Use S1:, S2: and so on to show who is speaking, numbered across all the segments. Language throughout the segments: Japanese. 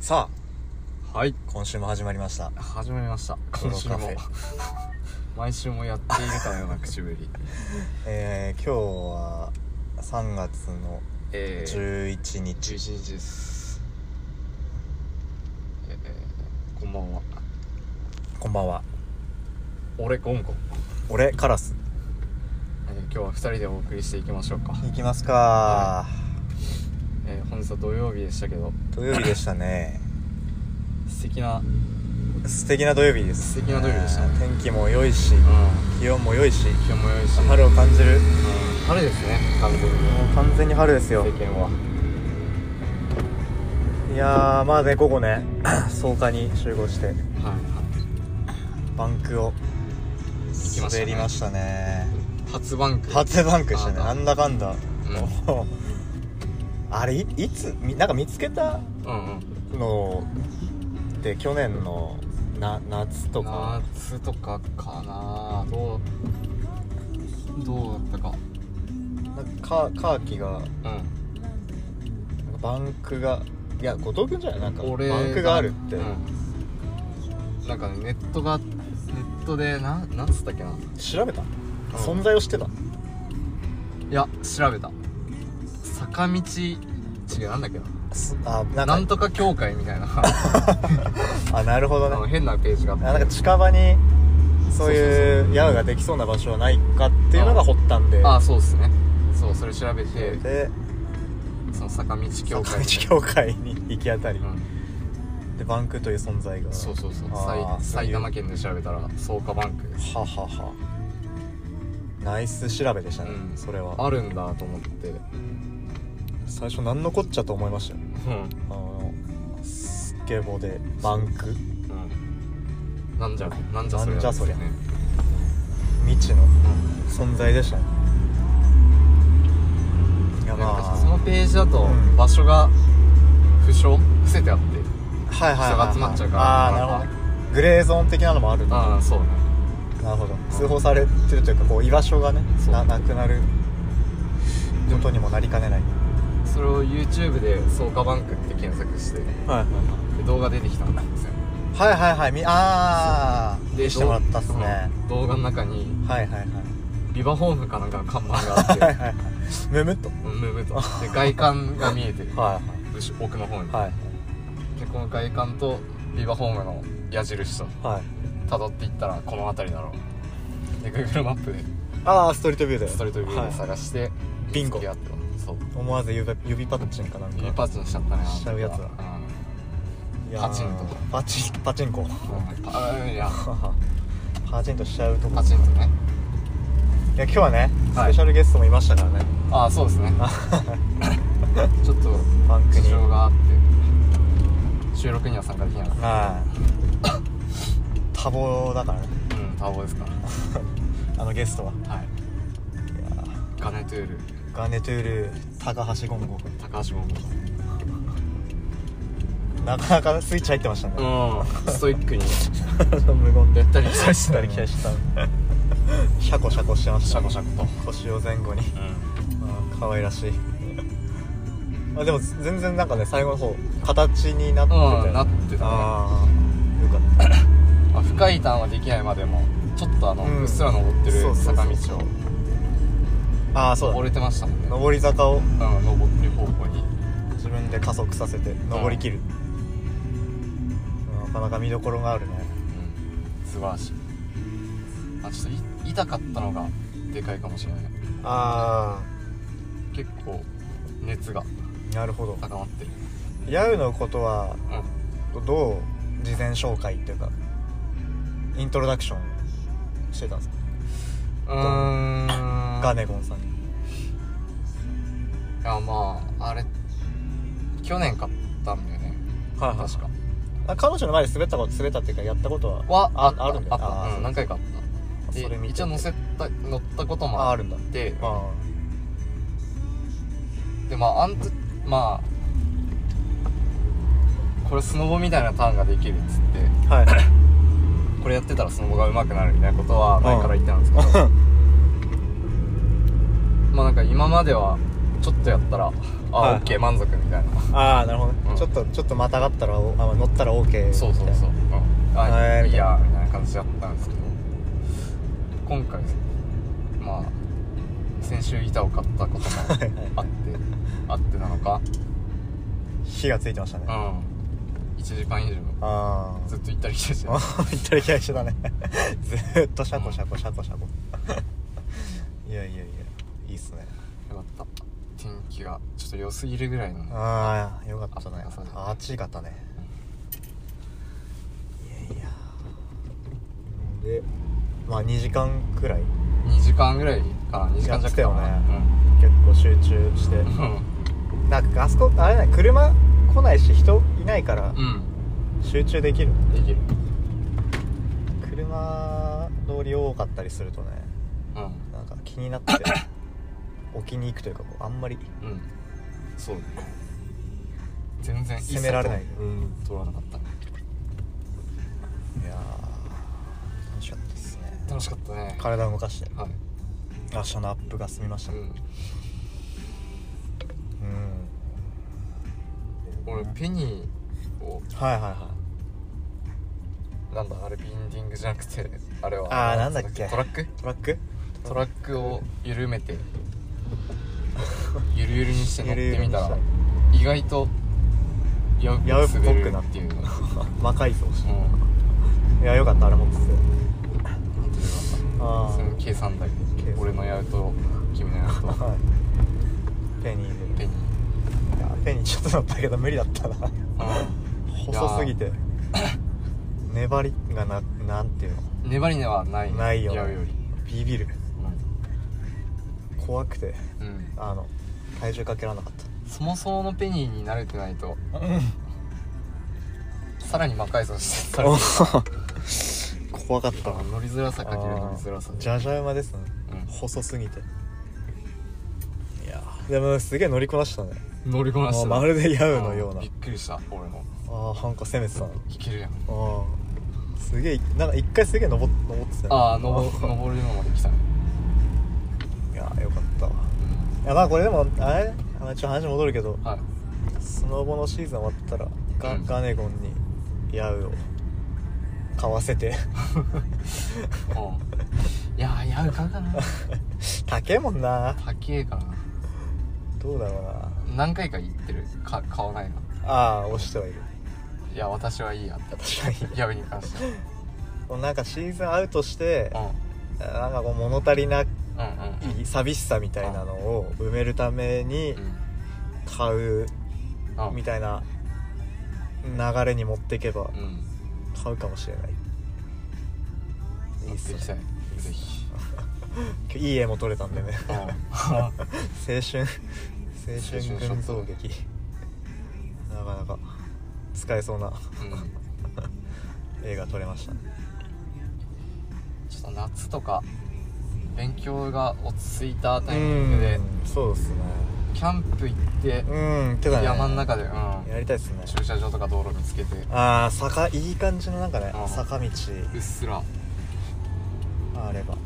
S1: さ
S2: はい
S1: あ今週も始まりました
S2: 始まりました今週
S1: ゴ
S2: も
S1: ロカ
S2: 毎週もやっているかのような口ぶ り
S1: えー、今日は3月の
S2: えー、
S1: 11日、
S2: 11日ですえー、こんばんは
S1: こんばんは
S2: 俺ゴンゴン、
S1: 俺カラス
S2: えー、今日は2人でお送りしていきましょうか、
S1: 行きますか、
S2: えー、本日は土曜日でしたけど
S1: 土曜日でしたね
S2: 素敵な
S1: 素敵な土曜日です
S2: 素敵な土曜日でしたね
S1: 天気も良いし
S2: うん
S1: 気温も良いし
S2: 気温も良いし、うん、
S1: 春を感じる
S2: 春ですね完全に
S1: もう完全に春ですよ
S2: 世間はい
S1: やーまあね午後ね 草加に集合して
S2: はいはい
S1: バンクを
S2: きましたね
S1: 滑りましたね
S2: 初バンク
S1: 初バンクでしたね
S2: あ
S1: なんだかんだ、
S2: ん
S1: もう あれいいつみなんか見つけた
S2: うんうん
S1: ので去年のな夏とか
S2: 夏とかかなどうどうだったか
S1: なんかカーキが
S2: うん
S1: なんかバンクがいや後藤君じゃないなんか
S2: 俺
S1: バンクがあるって、
S2: うんなんかねネットがネットでななんつったっけな
S1: 調べた、存在を知ってた
S2: いや調べた坂道違うなんだっけな
S1: すあなん
S2: な
S1: か
S2: んとか協会みたいな
S1: あなるほど
S2: あ
S1: ね
S2: の変なページがあっ
S1: あ
S2: て
S1: なんか近場にそういうヤウができそうな場所はないかっていうのが発端で
S2: あそうっすねそうそれ調べて
S1: で
S2: その坂道協
S1: 坂
S2: 会
S1: 道教会に行き当たり、
S2: うん
S1: でバンクという存在が
S2: そうそうそう
S1: あー
S2: 埼
S1: そういう
S2: 埼玉県で調べたら草加バンク
S1: はははナイス調べでしたね、
S2: うん
S1: それは
S2: あるんだと思ってう
S1: 最初何のこっちゃと思いましたよ
S2: ん
S1: あのスケボでバンク
S2: うんなんじゃなんじゃそり
S1: なんじゃそりゃ
S2: ですね
S1: 未知の存在でしたねいや
S2: うん
S1: ま
S2: なん
S1: あ
S2: かそのページだと
S1: うん
S2: 場所が不詳伏せてあって
S1: はいはいはい、は
S2: 人が
S1: い、
S2: 集まっちゃうから
S1: ああーなるほどグレーゾーン的なのもあるな
S2: ああそうね
S1: るほど通報されてるというかこう居場所がね
S2: そう
S1: ななくなることにもなりかねない
S2: それを YouTube で「草加バンク」って検索してで
S1: はい
S2: 動画出てきたんですよ
S1: はいはいはいみああ
S2: で
S1: 見してもらったっすね
S2: 動動画の中に
S1: はいはいはい
S2: ビバホームかなんかの看板があっ
S1: はい
S2: て
S1: はいむむっと
S2: うんムーブとで外観が見えてる
S1: は
S2: 後奥の方に
S1: いはい
S2: でこの外観とビバホームの矢印と
S1: はいはい
S2: 辿っていったらこの辺りだろうで Google マップで
S1: ああストリートビューだよ
S2: ストリートビューで
S1: はい
S2: 探して、
S1: ビンゴ
S2: 見つけ合ってそう
S1: 思わず指指パッチンかなんか
S2: 指パチンしちゃったね
S1: しちゃうやつだいやー
S2: パチンと
S1: パチンパチンコ
S2: うんパうんいや
S1: パチンとしちゃうとこ
S2: パチンとね
S1: いや今日はねス
S2: はい
S1: ペシャルゲストもいましたからね、
S2: ああそうですね ちょっと
S1: バンク
S2: 事
S1: に
S2: 情
S1: は
S2: があって収録には参加できなかっ
S1: い多忙だからね
S2: たうんタボですか
S1: あのゲストは
S2: らはい
S1: いやー
S2: ガネトゥール
S1: ガネトゥール高橋ゴンゴ
S2: 高橋桃
S1: なかなかスイッチ入ってましたね、
S2: 子うんストイックに
S1: 無言
S2: べったり期待してた
S1: り期待してたシャコシャコしてまし
S2: シ
S1: た
S2: ャ
S1: ね
S2: コシャコと
S1: 腰を前後に
S2: うん
S1: あー可愛らしい あでも全然なんかね最後の方形になってた
S2: うんなってたね
S1: ああよかった
S2: まあ、深いターンはできないまでもちょっとあの、
S1: う
S2: うんっすら登って
S1: そう
S2: る
S1: そうそ
S2: 坂
S1: う
S2: 道を
S1: ああーそうだ、
S2: 登れてましたもんねうん
S1: 上り坂を
S2: 登ってる方向に
S1: 自分で加速させて上りきる、なかなか見どころがあるね
S2: うん素晴らしいあちょっとい痛かったのがでかいかもしれない
S1: あ
S2: 結構熱が
S1: あなるほど
S2: 高まってる
S1: ヤウのことは
S2: うん
S1: どう事前紹介っていうかイントロダクションしてたんですか
S2: うーん
S1: ガネゴンさんに
S2: あまああれ去年買ったんだよね
S1: は
S2: 確か
S1: あ彼女の前で滑ったこと滑ったっていうかやったことは
S2: はあ
S1: あ
S2: った
S1: あるんだよ
S2: あった
S1: ー
S2: うん何回かあっ
S1: そ
S2: た
S1: れ見
S2: で
S1: てて
S2: 一応乗せた乗ったことも
S1: あ
S2: あ
S1: あ
S2: っ
S1: るんだ
S2: て
S1: あ
S2: でまああんつまあこれスノボみたいなターンができるっつって
S1: あ はい
S2: これやってたらスノボが上手くなるみたいなこと は前から言ってたんですけど、まあなんか今まではちょっとやったらあ、
S1: はい
S2: オッケー満足みたいな
S1: ああなるほどね、
S2: うん
S1: ちょっとちょっとまたがったらおあ乗ったら OK みたいな
S2: そうそうそう、うん、あ、
S1: はい
S2: い、
S1: みたいな
S2: やみたいな感じだったんですけど今回まあ先週板を買ったこともあって
S1: はいはい
S2: あってなのか
S1: 火がついてましたね、
S2: うん
S1: あ
S2: 1時間以上
S1: あ
S2: ずっと行ったり来たりして
S1: あ行ったり来たりしてたね ずーっとシャコシャコシャコシャコいやいやいやいいっすね
S2: よかった天気がちょっと良すぎるぐらいの
S1: ああよかったね
S2: 朝だね
S1: 暑かったねいやいやでまあ2時間くらい
S2: 2時間ぐらいかな2時間
S1: やって
S2: 弱
S1: た
S2: か
S1: よ
S2: な
S1: ね、結構集中して
S2: うん
S1: なんかあそこあれだね車来ないし人いないから
S2: うん、
S1: 集中できる、
S2: うん、できる
S1: 車通り多かったりするとね
S2: うん
S1: なんか気になって 置きに行くというかこうあんまり
S2: うんそうだね全然
S1: 責められない
S2: うん取らなかった
S1: いやー楽しかったですね
S2: 楽しかったね
S1: 体を動かして
S2: はい、
S1: 明日のアップが済みました
S2: う
S1: ね
S2: ん、
S1: うん
S2: 俺ペニーを
S1: はいはいはい
S2: なんだあれビンディングじゃなくてあれは
S1: あーなんだっけ
S2: トラック
S1: トラック
S2: トラックを緩めて ゆるゆるにして乗っ
S1: ゆるゆ
S2: て
S1: るに
S2: み
S1: したた
S2: ら意外とヤウっぽく滑るっていうの
S1: 魔改造し
S2: うん本
S1: いやよかったあれ持ってて
S2: 当によか
S1: あ
S2: った
S1: ー
S2: その計算台で
S1: 計算
S2: 俺のヤウと君のヤウと
S1: はいペニーで
S2: ペニー
S1: いやペニーちょっと乗ったけど無理だったな
S2: うん
S1: 細すぎて粘りがななんていうの
S2: 粘りはない
S1: ないよ
S2: ヤウより
S1: ビビる怖くて
S2: うん、うん
S1: あの体重かけられなかっ
S2: そもそものペニーに慣れてないと
S1: た
S2: さらに魔改造してさらに
S1: お 怖かったな
S2: 乗りづらさかける乗りづらさで
S1: じゃじゃ馬ですね
S2: うん
S1: 細すぎていやーでもすげえ乗りこなしたね
S2: 乗りこなしてた
S1: もうまるでヤウのような
S2: あーびっくりした俺も
S1: ああハンコ攻めてたの
S2: いけるやん
S1: ああすげえなんか一回すげえ登っ登ってたよ
S2: ああ登登るのまで来たね、
S1: いやよかったわ
S2: う
S1: いやまあこれでもあれあのちょっと話戻るけど
S2: ん、はい
S1: スノボのシーズン終わったらガ,、
S2: うん
S1: ガネゴンにヤウを買わせて
S2: うんいやーやうか かな
S1: 高えもんな
S2: 高えかな
S1: どうだろうな
S2: 何回か言ってるか買わないの
S1: ああ押してはいる
S2: いや私はいいやって
S1: 私はいい
S2: やべに関して
S1: こうなんかシーズンアウトして
S2: は、
S1: なんかこう物足りな
S2: うん、うんうんうん
S1: い寂しさみたいなのを埋めるために買う
S2: うんうん
S1: みたいな流れに持っていけば
S2: うん
S1: 買うかもしれないいい
S2: 持
S1: っ
S2: って
S1: す
S2: きたい
S1: ね
S2: ぜひ
S1: 今日 いい絵も撮れたんでね
S2: う ん
S1: 青春青春群像劇なかなか使えそうな
S2: うん
S1: 映画撮れましたね
S2: ちょっと夏とか勉強が落ち着いたタイミングで
S1: うんそうですね
S2: キャンプ行って
S1: うんてかね
S2: 山の中で、うん、
S1: やりたいですね
S2: 駐車場とか道路見つけて
S1: ああ坂いい感じのなんかね
S2: うん
S1: 坂道
S2: うっすらう
S1: あれば
S2: っ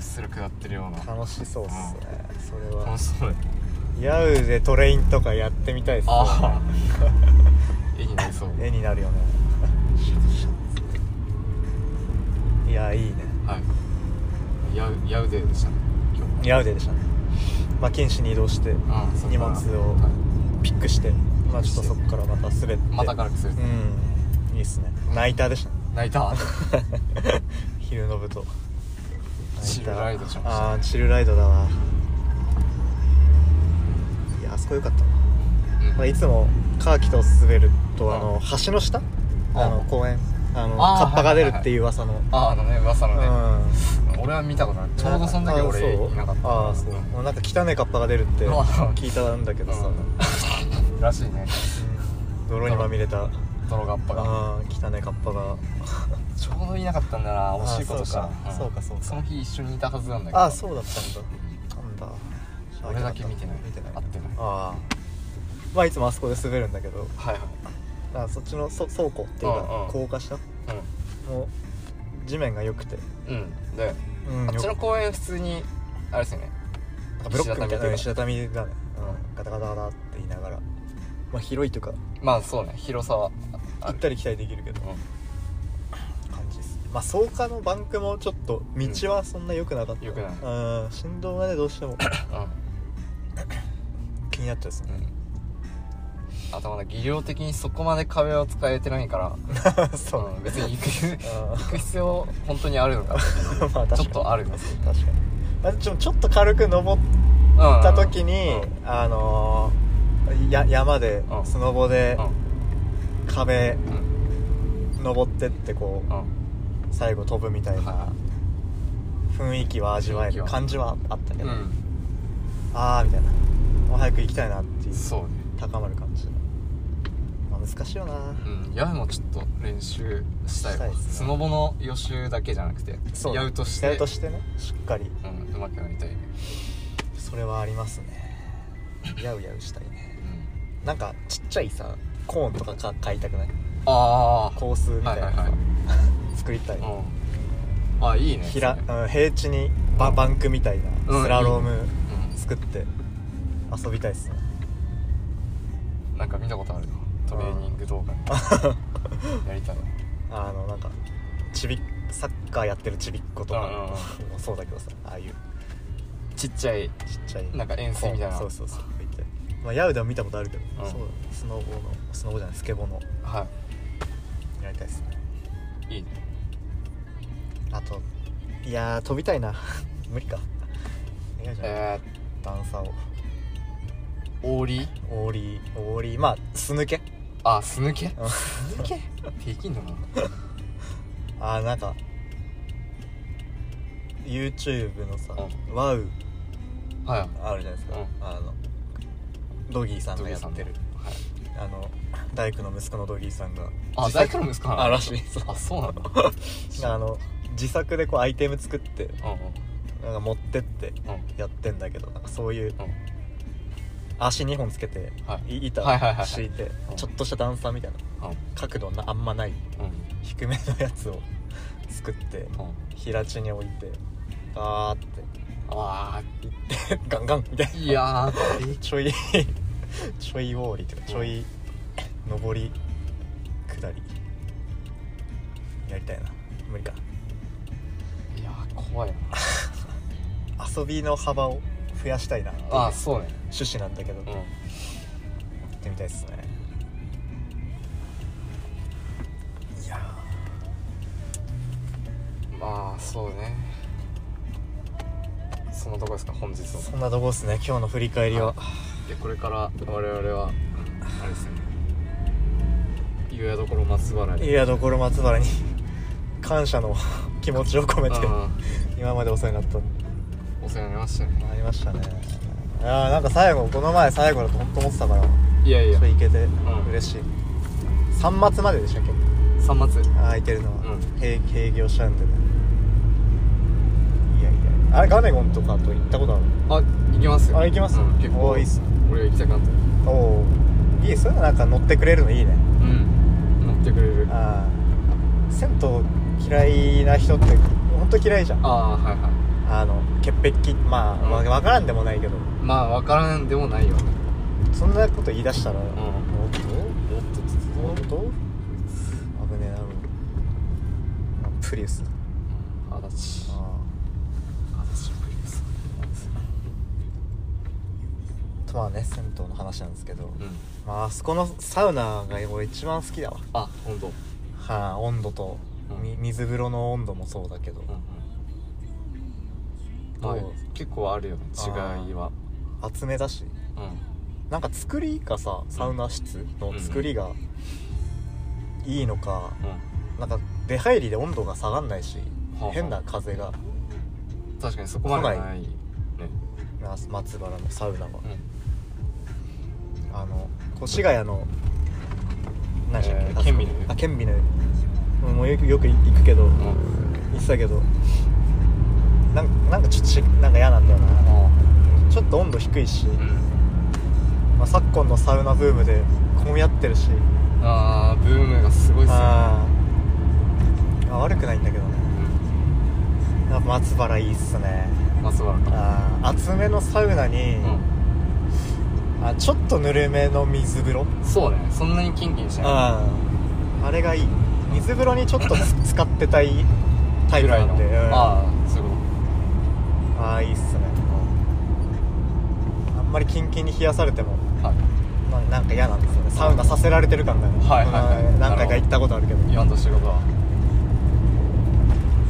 S2: すら下ってるような
S1: 楽しそうっすねそれは
S2: 楽しそうだね
S1: ヤウでトレインとかやってみたいっすね
S2: ああ絵になりそうは
S1: 絵になるよねいやいいね
S2: いヤウヤウデーでしたね今日
S1: ヤウデでしたねまあ剣士に移動して
S2: うんそっ
S1: 荷
S2: から
S1: 物を
S2: はい
S1: ピックしてまあちょっとそこからまた滑って
S2: またからくする
S1: うんいいっすねナイターでしたね
S2: 泣いた
S1: 昼の部と
S2: チルライドしましたね
S1: ああーチルライドだわいやあそこ良かったな
S2: うん
S1: まあ、いつもカーキと滑る
S2: うん
S1: とあの橋の下あの公園あの
S2: あー
S1: カッパが出る
S2: はいはいはい
S1: っていう噂の、
S2: あああのね噂のね
S1: うん
S2: 俺は見たことないちょうどその時俺いなかった
S1: ああそうもうなんか汚いカッパが出るって
S2: うん
S1: 聞いたんだけどさ、
S2: うんらしいね
S1: 泥にまみれたあ
S2: 泥がっぱが
S1: あー汚いカッパが
S2: ちょうどいなかったんだな
S1: あー
S2: 惜しいことした
S1: そうんかそうかそうか
S2: その日一緒にいたはずなんだけど
S1: ああそうだったんだなんだ
S2: 俺だけ見てない
S1: 見てない
S2: 合ってない
S1: ああまあいつもあそこで滑るんだけど
S2: はいはい
S1: あそっちのそ倉庫っていう
S2: うんう
S1: か
S2: ん
S1: 高架下もう地面が良くて、
S2: うんうんで
S1: うん
S2: あっち
S1: よ
S2: の公園普通にあれですよね
S1: なんかブロックみたいなうん
S2: 石
S1: 石畳だね、うん、ガタガタガタって言いながらまあ広いというか
S2: まあそうね広さはあ
S1: 行
S2: る
S1: ったり来たりできるけど感じですまあ草加のバンクもちょっと道はそんな良くなかった、
S2: 良くない
S1: うん振動がねどうして も気になっちゃうです
S2: うん、
S1: ね
S2: うん、あとまだ技量的にそこまで壁を使えてないから
S1: そう、
S2: ん別に行く
S1: あ
S2: 行く必要本当にあるのか
S1: ーまあ確かに
S2: ちょっとあるよ
S1: 確かにあちょちょっと軽く登っ
S2: 行
S1: た時に、あのーや山で、
S2: うん
S1: スノボで壁
S2: うんうん
S1: 登ってってこ
S2: うん
S1: う最後飛ぶみたいな
S2: は
S1: 雰囲気は味わえ
S2: 雰囲気
S1: る
S2: は
S1: 感じはあった
S2: い
S1: け
S2: う
S1: ど、
S2: ん
S1: ああみたいなもう早く行きたいなっていう
S2: そうね
S1: 高まる感じ、まあ、難しいよな
S2: うんヤウもちょっと練習したい
S1: したい
S2: わ
S1: ですね
S2: スノボの予習だけじゃなくて
S1: そう
S2: ヤウとして
S1: やるとしてねしっかり
S2: うんうまくなりたい
S1: それはありますねやうやうしたいね
S2: うん
S1: なんかちっちゃいさコーンとかか買いたくない
S2: ああ
S1: コースみたいなさ、
S2: はいはいは
S1: 作りたい、
S2: うんあいいね
S1: ひら
S2: それ
S1: うん、平地にバ
S2: うん
S1: バンクみたいな
S2: うん
S1: スラローム
S2: うん
S1: 作って遊びたいっすね
S2: なんか見たことあるなトレーニング動画 やりたいわ
S1: あのなんかちびっサッカーやってるちびっ子とか
S2: うんうんうん
S1: もそうだけどさああいう
S2: ちっちゃい
S1: ちっちゃい
S2: なんか遠征みたいな
S1: そうそうそう置いてまあヤウでも見たことあるけど、
S2: うん
S1: そうだねスノボのスノボじゃないスケボーの
S2: は
S1: やりたいっすね
S2: いいいね
S1: あといやー飛びたいな 無理か嫌じゃない、
S2: え
S1: 段差を
S2: ー、オーリー
S1: オーリーオーリーまあ素抜け
S2: あすぬけ
S1: うん
S2: すぬけできんのか
S1: あーなんか YouTube のさ「ワウ
S2: なはい」
S1: あるじゃないですか、
S2: うん
S1: あのドギーさんがやってる
S2: はい
S1: あの大工の息子のドギーさんが
S2: あ
S1: 自作
S2: 大工の息子なの
S1: あらしいそう
S2: あそ うなんだ
S1: あの自作でこうアイテム作って
S2: うんうん
S1: なんか持ってって
S2: うん
S1: やってんだけどなんかそういう
S2: うん
S1: 足2本つけて、
S2: はい
S1: い板
S2: はいはいはいはい
S1: 敷いて
S2: うん
S1: ちょっとした段差みたいな角度なあんまない
S2: うん
S1: 低めのやつを作って
S2: うん
S1: 平地に置いてガーって
S2: あ
S1: 行って ガンガンみたい
S2: ー
S1: ない
S2: やーでき
S1: ちょい ちょいウォーリーというかちょい上り下りやりたいな無理か
S2: いやー怖いな
S1: 遊びの幅を増やしたいなっていう
S2: あーそうね
S1: 趣旨なんだけど、
S2: う
S1: や
S2: ん
S1: ってみたいですねいや
S2: まあそうねそんなとこですか本日
S1: ー
S2: の
S1: そんなとこですね今日の振り返りは、
S2: でこれから我々はあれですよね夕宿ころ松原
S1: い、
S2: に
S1: やどころ松原に 感謝の 気持ちを込めて
S2: うん
S1: 今までお世話になった
S2: お世話になりましたね
S1: ありましたねいやーなんか最後この前最後だと本当思ってたから
S2: いやい
S1: ちょ
S2: や
S1: っと行けて
S2: ん
S1: 嬉しい、3末まででしたっけ
S2: 三末
S1: あー空いてるのは、
S2: うん
S1: 閉閉業しちゃうんでねいやいやあれガネゴンとかと行ったことある
S2: あ行きますよ
S1: あ行きます
S2: うん、結構
S1: おーいいっすね
S2: 俺行きたくなった
S1: おおーいいそういうのなんか乗ってくれるのいいね
S2: うん乗ってくれるあ
S1: ああ銭湯嫌いな人って本当嫌いじゃんあ
S2: あーはいはい
S1: の潔癖まあ、
S2: うん
S1: わ分からんでもないけど
S2: まあ分からんでもないよね
S1: そんなこと言い出したら、おっと
S2: おっと
S1: おっと危ねえなもうあプリウス
S2: あだち
S1: ああ
S2: あだちプリウス
S1: とまあね銭湯の話なんですけど、
S2: うん
S1: まああそこのサウナが俺一番好きだわ
S2: あ本当。
S1: はあ温度と、
S2: うん
S1: み水風呂の温度もそうだけど、
S2: まあ
S1: どう
S2: 結構あるよね違いは
S1: 厚めだし
S2: うん
S1: なんか作りがさサウナ室の作りがいいのか、なんか出入りで温度が下がんないし、
S2: はあはあ
S1: 変な風が
S2: うん確かにそこまでないね
S1: な松原のサウナは、
S2: うん
S1: あの越谷の何でしたっけ、
S2: え
S1: あ
S2: ー
S1: そこ
S2: 県民の
S1: あ県民の湯もうよくよく行くけど、
S2: うん
S1: 言ってたけどなんなんかちょっとしなんか嫌なんだよな
S2: あ
S1: ちょっと温度低いし、
S2: ーうん
S1: まあ、昨今のサウナブームで混み合ってるし
S2: あーブームがすごいっすね
S1: あーまあ悪くないんだけどねやっぱ松原いいっすね
S2: まつわるか
S1: あー熱めのサウナに、
S2: う
S1: あちょっとぬるめの水風呂
S2: んそうねそんなにキンキンしない
S1: ああれがいい水風呂にちょっとつ 使ってたいタイ
S2: ぐ
S1: プ
S2: ら
S1: ない
S2: の
S1: んで、うん
S2: ああすごい
S1: ああいいっすねあんまりキンキンに冷やされても、
S2: はい
S1: まあ、なんか嫌なんですよねサウナさせられてる感がね、
S2: はいはいはい
S1: うん何回か行ったことあるけど
S2: 言わんとしてることは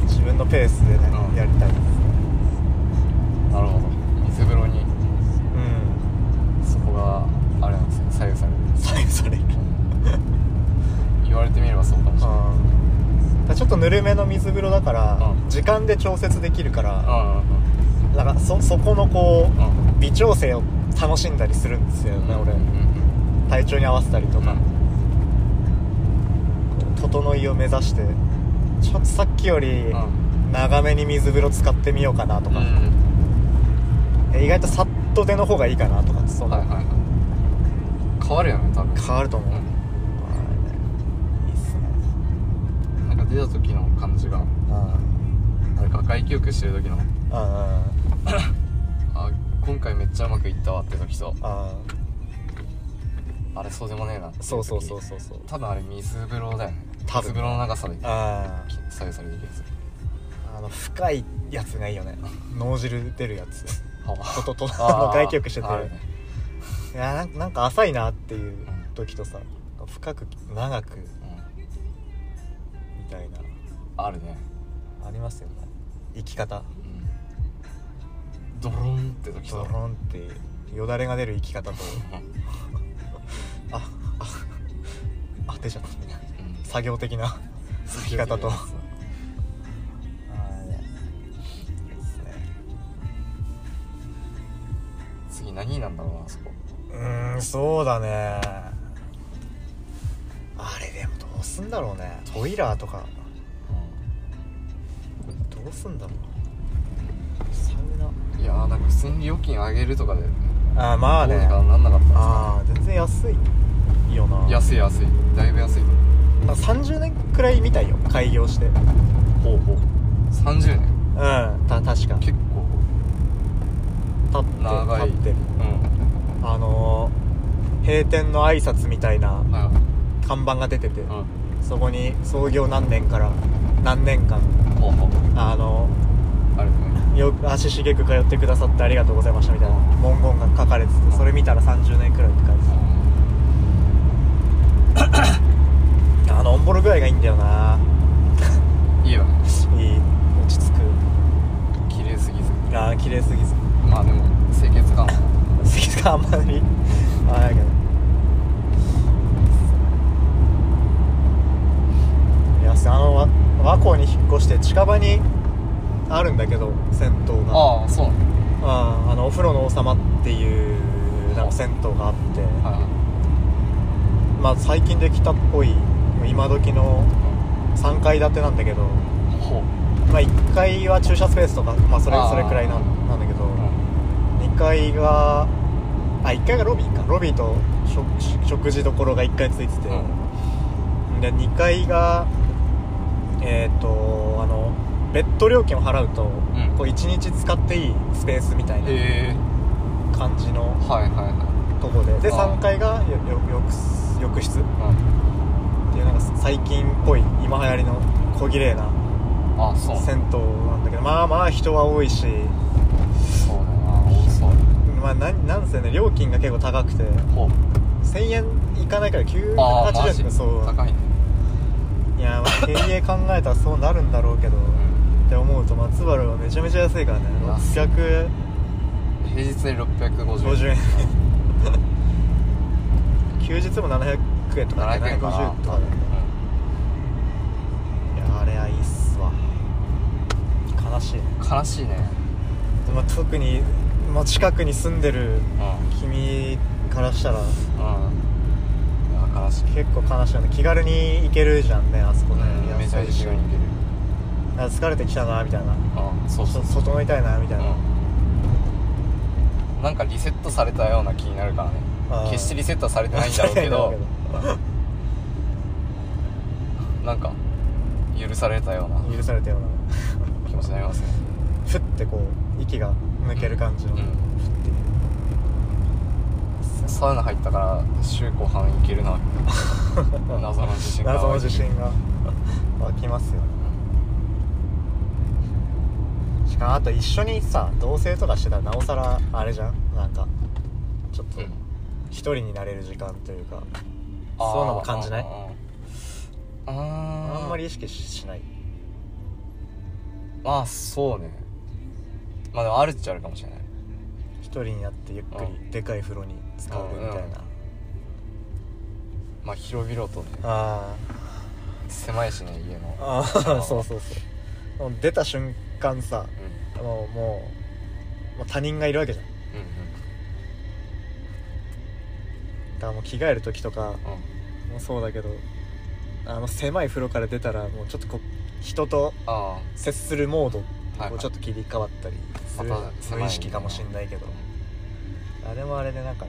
S1: 自分のペースでね、
S2: うん
S1: やりたいですね
S2: なるほど水風呂に
S1: うん
S2: そこがあれなんですね左右される
S1: 左右される
S2: 言われてみればそうかもしれな
S1: う
S2: い
S1: んだからちょっとぬるめの水風呂だから、
S2: うん
S1: 時間で調節できるから、
S2: う
S1: なんかそそこのこう、
S2: んうんうん
S1: 微調整を楽しんだりするんですよね、
S2: うんうんうん
S1: 俺体調に合わせたりとか、整いを目指してちょっとさっきより
S2: うん
S1: 長めに水風呂使ってみようかなと
S2: うんう
S1: か、
S2: ん
S1: え意外とさっと出の方がいいかなとかそんな、
S2: はいはいはい変わるよね多分
S1: 変わると思う、はいいいっすね
S2: うんなんか出た時の感じが
S1: あ
S2: なんか外記憶してる時の
S1: ああ
S2: あ今回めっちゃうまくいったわって時と
S1: ああ
S2: あれそうでもねえなってい
S1: あ
S2: 時
S1: そうそうそうそうそう
S2: 多分あれ水風呂だよね
S1: 多分
S2: 水風呂の長さで
S1: あ
S2: 左右されてる気がする
S1: ああの深いやつがいいよね脳汁出るやつ
S2: あ
S1: ととと
S2: あ
S1: あの外気浴してて
S2: あるね
S1: いやなんなんか浅いなっていう時とさ深く長くみ
S2: うん
S1: たいな
S2: あるね
S1: ありますよね生き方
S2: うんドロンって時
S1: ド
S2: と
S1: ロンってよだれが出る生き方と
S2: うん
S1: あああ出ちゃった
S2: うん
S1: 作業的な生き方とああねいいっすね
S2: 次何になんだろうなあそこ
S1: うーんそうだねあれでもどうすんだろうねトイラーとかどうすんだろうサウナ
S2: いやーなんか普通に料金上げるとかで
S1: ああまあ
S2: どう
S1: ね
S2: にかなんなかったんですか
S1: ああ全然安いよな
S2: 安い安いだいぶ安い
S1: なんか30年くらいみたいよ開業してうん
S2: ほうほう30年
S1: た確か
S2: 結構
S1: 立って
S2: 長い
S1: 立ってる
S2: うん
S1: あのー閉店の挨拶みたいな
S2: はい
S1: 看板が出てて、
S2: うん
S1: そこに創業何年から何年間
S2: ほうほう
S1: あの
S2: あれね
S1: よ足しげく通ってくださってありがとうございましたみたいな文言が書かれててそれ見たら30年くらいって書いてたあのオンボロ具合がいいんだよない
S2: いよね
S1: いい落ち着く
S2: 綺麗すぎず
S1: ああ綺麗すぎず
S2: まあでも清潔感は
S1: 好きかあんまりあれだけどいやあのわ和光に引っ越して近場にあるんだけど銭湯が
S2: ああそうなの
S1: ああのお風呂の王様っていうなんか銭湯があって、
S2: はいはい
S1: まあ最近できたっぽい今時の3階建てなんだけど、
S2: ほう
S1: まあ、1階は駐車スペースとか、まあ、それ
S2: あー
S1: それくらいなんなんだけど、
S2: うん
S1: 2階があ1階がロビーかロビーと食食事どころが1階ついてて、で2階がえっ、とあのベッド料金を払うと、
S2: ん
S1: こう1日使っていいスペースみたいな
S2: え
S1: 感じの
S2: えはいはいは
S1: とこでで
S2: あー
S1: 3階がよよ浴室浴室っ
S2: いうん
S1: ていうなんか最近っぽい今流行りの小綺麗な
S2: ああそう
S1: 銭湯なんだけどまあまあ人は多いし、
S2: そうだな多そう
S1: まあ、なんなんせね料金が結構高くて
S2: ほう
S1: 1000円いかないから
S2: ああマ
S1: 980
S2: ジ
S1: 円そう
S2: 高いね
S1: いやまあ経営考えたらそうなるんだろうけどって思うと松原はめちゃめちゃ安いからね
S2: 安い
S1: 650
S2: 平日で650
S1: 円休日も700円とか
S2: 700円かな
S1: 750とかだね いやあれはいいっすわ悲しいね、
S2: うん悲しいね
S1: まあ、特に、まあ、近くに住んでる
S2: うん
S1: 君からしたら
S2: うんいや悲しい
S1: 結構悲しいよね気軽に行けるじゃんねあそこね、
S2: うんめちゃめちゃ気軽に行ける
S1: あ疲れてきたなみたいな
S2: うんそうそう
S1: ちょ整いたいなみたいな、
S2: うんなんかリセットされたような気になるからね
S1: あー
S2: 決してリセットはされてないんだろうけ どなんか許されたような
S1: 許されたような
S2: 気持ちになりますね
S1: ふってってこう息が抜ける感じの、
S2: うん
S1: って
S2: サウナ入ったから週後半いけ る
S1: い
S2: な
S1: う
S2: 謎の自信が
S1: 謎の自信が湧きますよねしかもあと一緒にさ同棲とかしてたらなおさらあれじゃんなんかちょっと
S2: うん
S1: 一人になれる時間というかそういうのも感じない
S2: あー
S1: あ
S2: あ
S1: んまり
S2: り
S1: 意識ししない
S2: まあそうねまあでもあるっちゃあるかもしれない
S1: 一人になってゆっく
S2: う
S1: りでかい風呂に使うみたいな
S2: うんまあ広々とね
S1: あ
S2: 狭いしね家
S1: ー
S2: の
S1: あー そうそうそうもう出た瞬間さ
S2: うんうん
S1: もうもうもう他人がいるわけじゃんだからもう着替える時とか
S2: うんうん
S1: もそうだけどあの狭い風呂から出たらもうちょっとこう人と
S2: あ
S1: 接するモードに
S2: はい
S1: こ
S2: は
S1: う
S2: い
S1: ちょっと切り替わったりする
S2: また狭い
S1: 無意識かもしんないけどあれもあれでなんか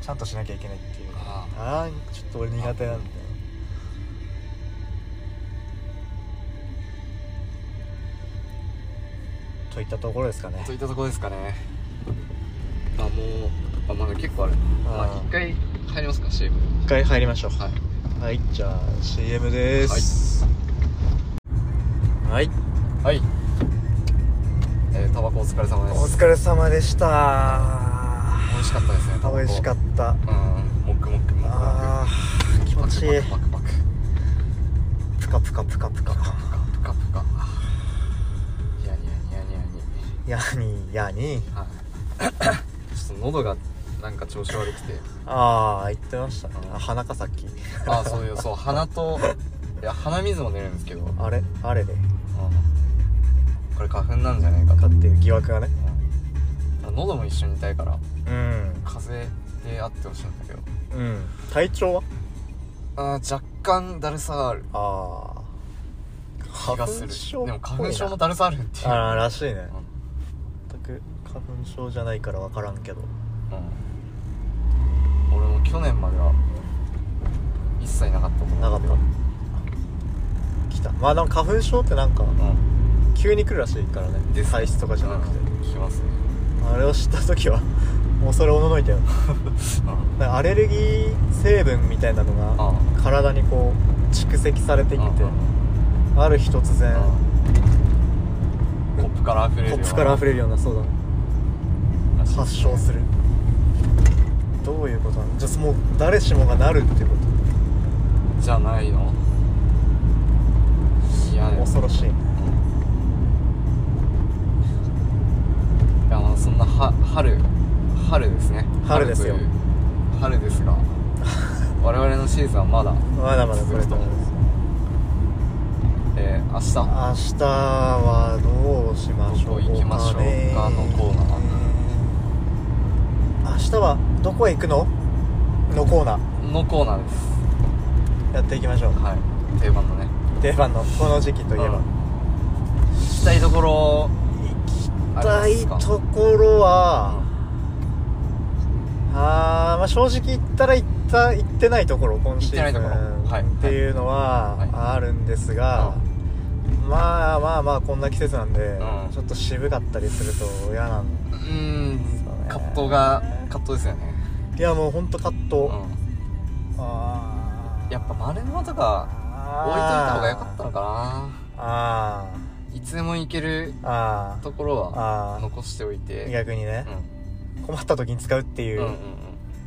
S1: ちゃんとしなきゃいけないっていう
S2: あ
S1: ああちょっと俺苦手なんだよといったところですかね
S2: あといったとこですかねまあもうあまだ結構あるまあ
S1: あー
S2: 一回入りますか CM
S1: 一回入りましょう
S2: はい
S1: はいじゃあ CM ですはい、
S2: はいえータバコお疲れ様です
S1: お疲れ様でした
S2: 美味しかったですねタバコ
S1: 美味しかった
S2: うんもくもくもくも
S1: あー気持
S2: く
S1: ちいい
S2: パクパクパクパク
S1: プカプカプカプカ
S2: プカプカプカニヤニヤニヤニヤニ
S1: やにやに
S2: はい ちょっと喉がなんか調子悪くて
S1: ああ言ってましたねあ花かさき
S2: ああそういうそう鼻といや鼻水も出るんですけどうん
S1: あれあれで
S2: これ花粉なんじゃないかと
S1: かっていう疑惑がね
S2: うん喉も一緒に痛いから
S1: うん
S2: 風邪であってほしいんだけど
S1: うん体調は
S2: あー若干だるさがある
S1: ああ
S2: 気がするでも花粉症もだるさあるっていう
S1: ああらしいね
S2: うん
S1: 全く花粉症じゃないから分からんけど
S2: うん俺も去年までは一切なかったと思う
S1: なかった来たまあなんか花粉症ってなんか
S2: うん
S1: 急に来るらしいからね
S2: です
S1: 体質とかじゃなくて
S2: うん来 ますね
S1: あれを知った時は もうそれおののいたよ
S2: うん
S1: なんかアレルギー成分みたいなのが
S2: あ
S1: 体にこう蓄積されていって
S2: うん
S1: ある日突然
S2: うんコップから溢れる
S1: コ
S2: ような
S1: ップから溢れるようなそうだ
S2: らしいですね
S1: 発症するどういうことなのじゃあもう誰しもがなるってこ
S2: じゃないのいや
S1: と
S2: でも
S1: 恐ろしいね
S2: いやまあそんなは春春ですね
S1: 春ですよ
S2: 春という春で すが我々のシーズンはまだ
S1: まだまだこれ
S2: 続くと思うんですよえー、明日
S1: 明日はどうしましょうか、ね、
S2: どこ行きましょうかのコーナ
S1: 明日はどこへ行くののコーナ
S2: のコーナーです
S1: ーやっていきましょう
S2: はい定番のね
S1: 定番のこの時期といえば、
S2: うん行きたいところ
S1: 行きたいところはあーまあ正直言ったら行った行ってないところ今シーズ
S2: 行ってないところはい
S1: ンっていうの
S2: はい
S1: はあるんですが、まあまあまあこんな季節なんで、
S2: うん
S1: ちょっと渋かったりすると嫌なん
S2: うー
S1: そう
S2: ん
S1: ね
S2: 葛藤が葛藤ですよね
S1: いやもうほんとカッ
S2: う
S1: ト、
S2: ん
S1: あー
S2: やっぱ丸沼とか置いといた方が良かったのか
S1: あ
S2: ないつでも行ける
S1: ーあ
S2: ところは
S1: あー
S2: 残しておい
S1: ー
S2: て
S1: 逆にね
S2: うん、
S1: 困った時に使うっていうう、
S2: んうんうん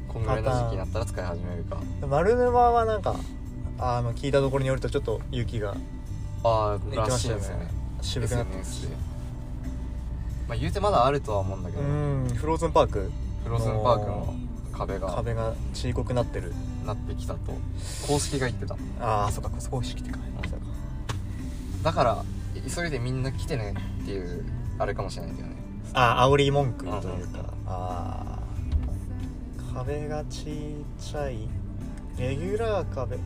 S2: こんぐらいの時期になったら使い始めるか
S1: 丸沼はなんかあの聞いたところによるとちょっと雪が
S2: ああ
S1: 行って
S2: ら
S1: ま
S2: し
S1: し
S2: い
S1: たよ
S2: で
S1: ね
S2: すよね
S1: 渋くなってま
S2: SNS
S1: す
S2: でまあ言うてまだあるとは思うんだけ
S1: う
S2: ど
S1: んフローズンパーク
S2: フローズンパークの壁が
S1: 壁が小さくなってる
S2: なってきたと公式が言ってた
S1: ああそっかそこ意識ってかそうか
S2: だから急いでみんな来てねっていうあれかもしれないけどね
S1: ああ煽り文句という
S2: うんうん
S1: かああ壁がちっちゃいレギュラー壁
S2: うん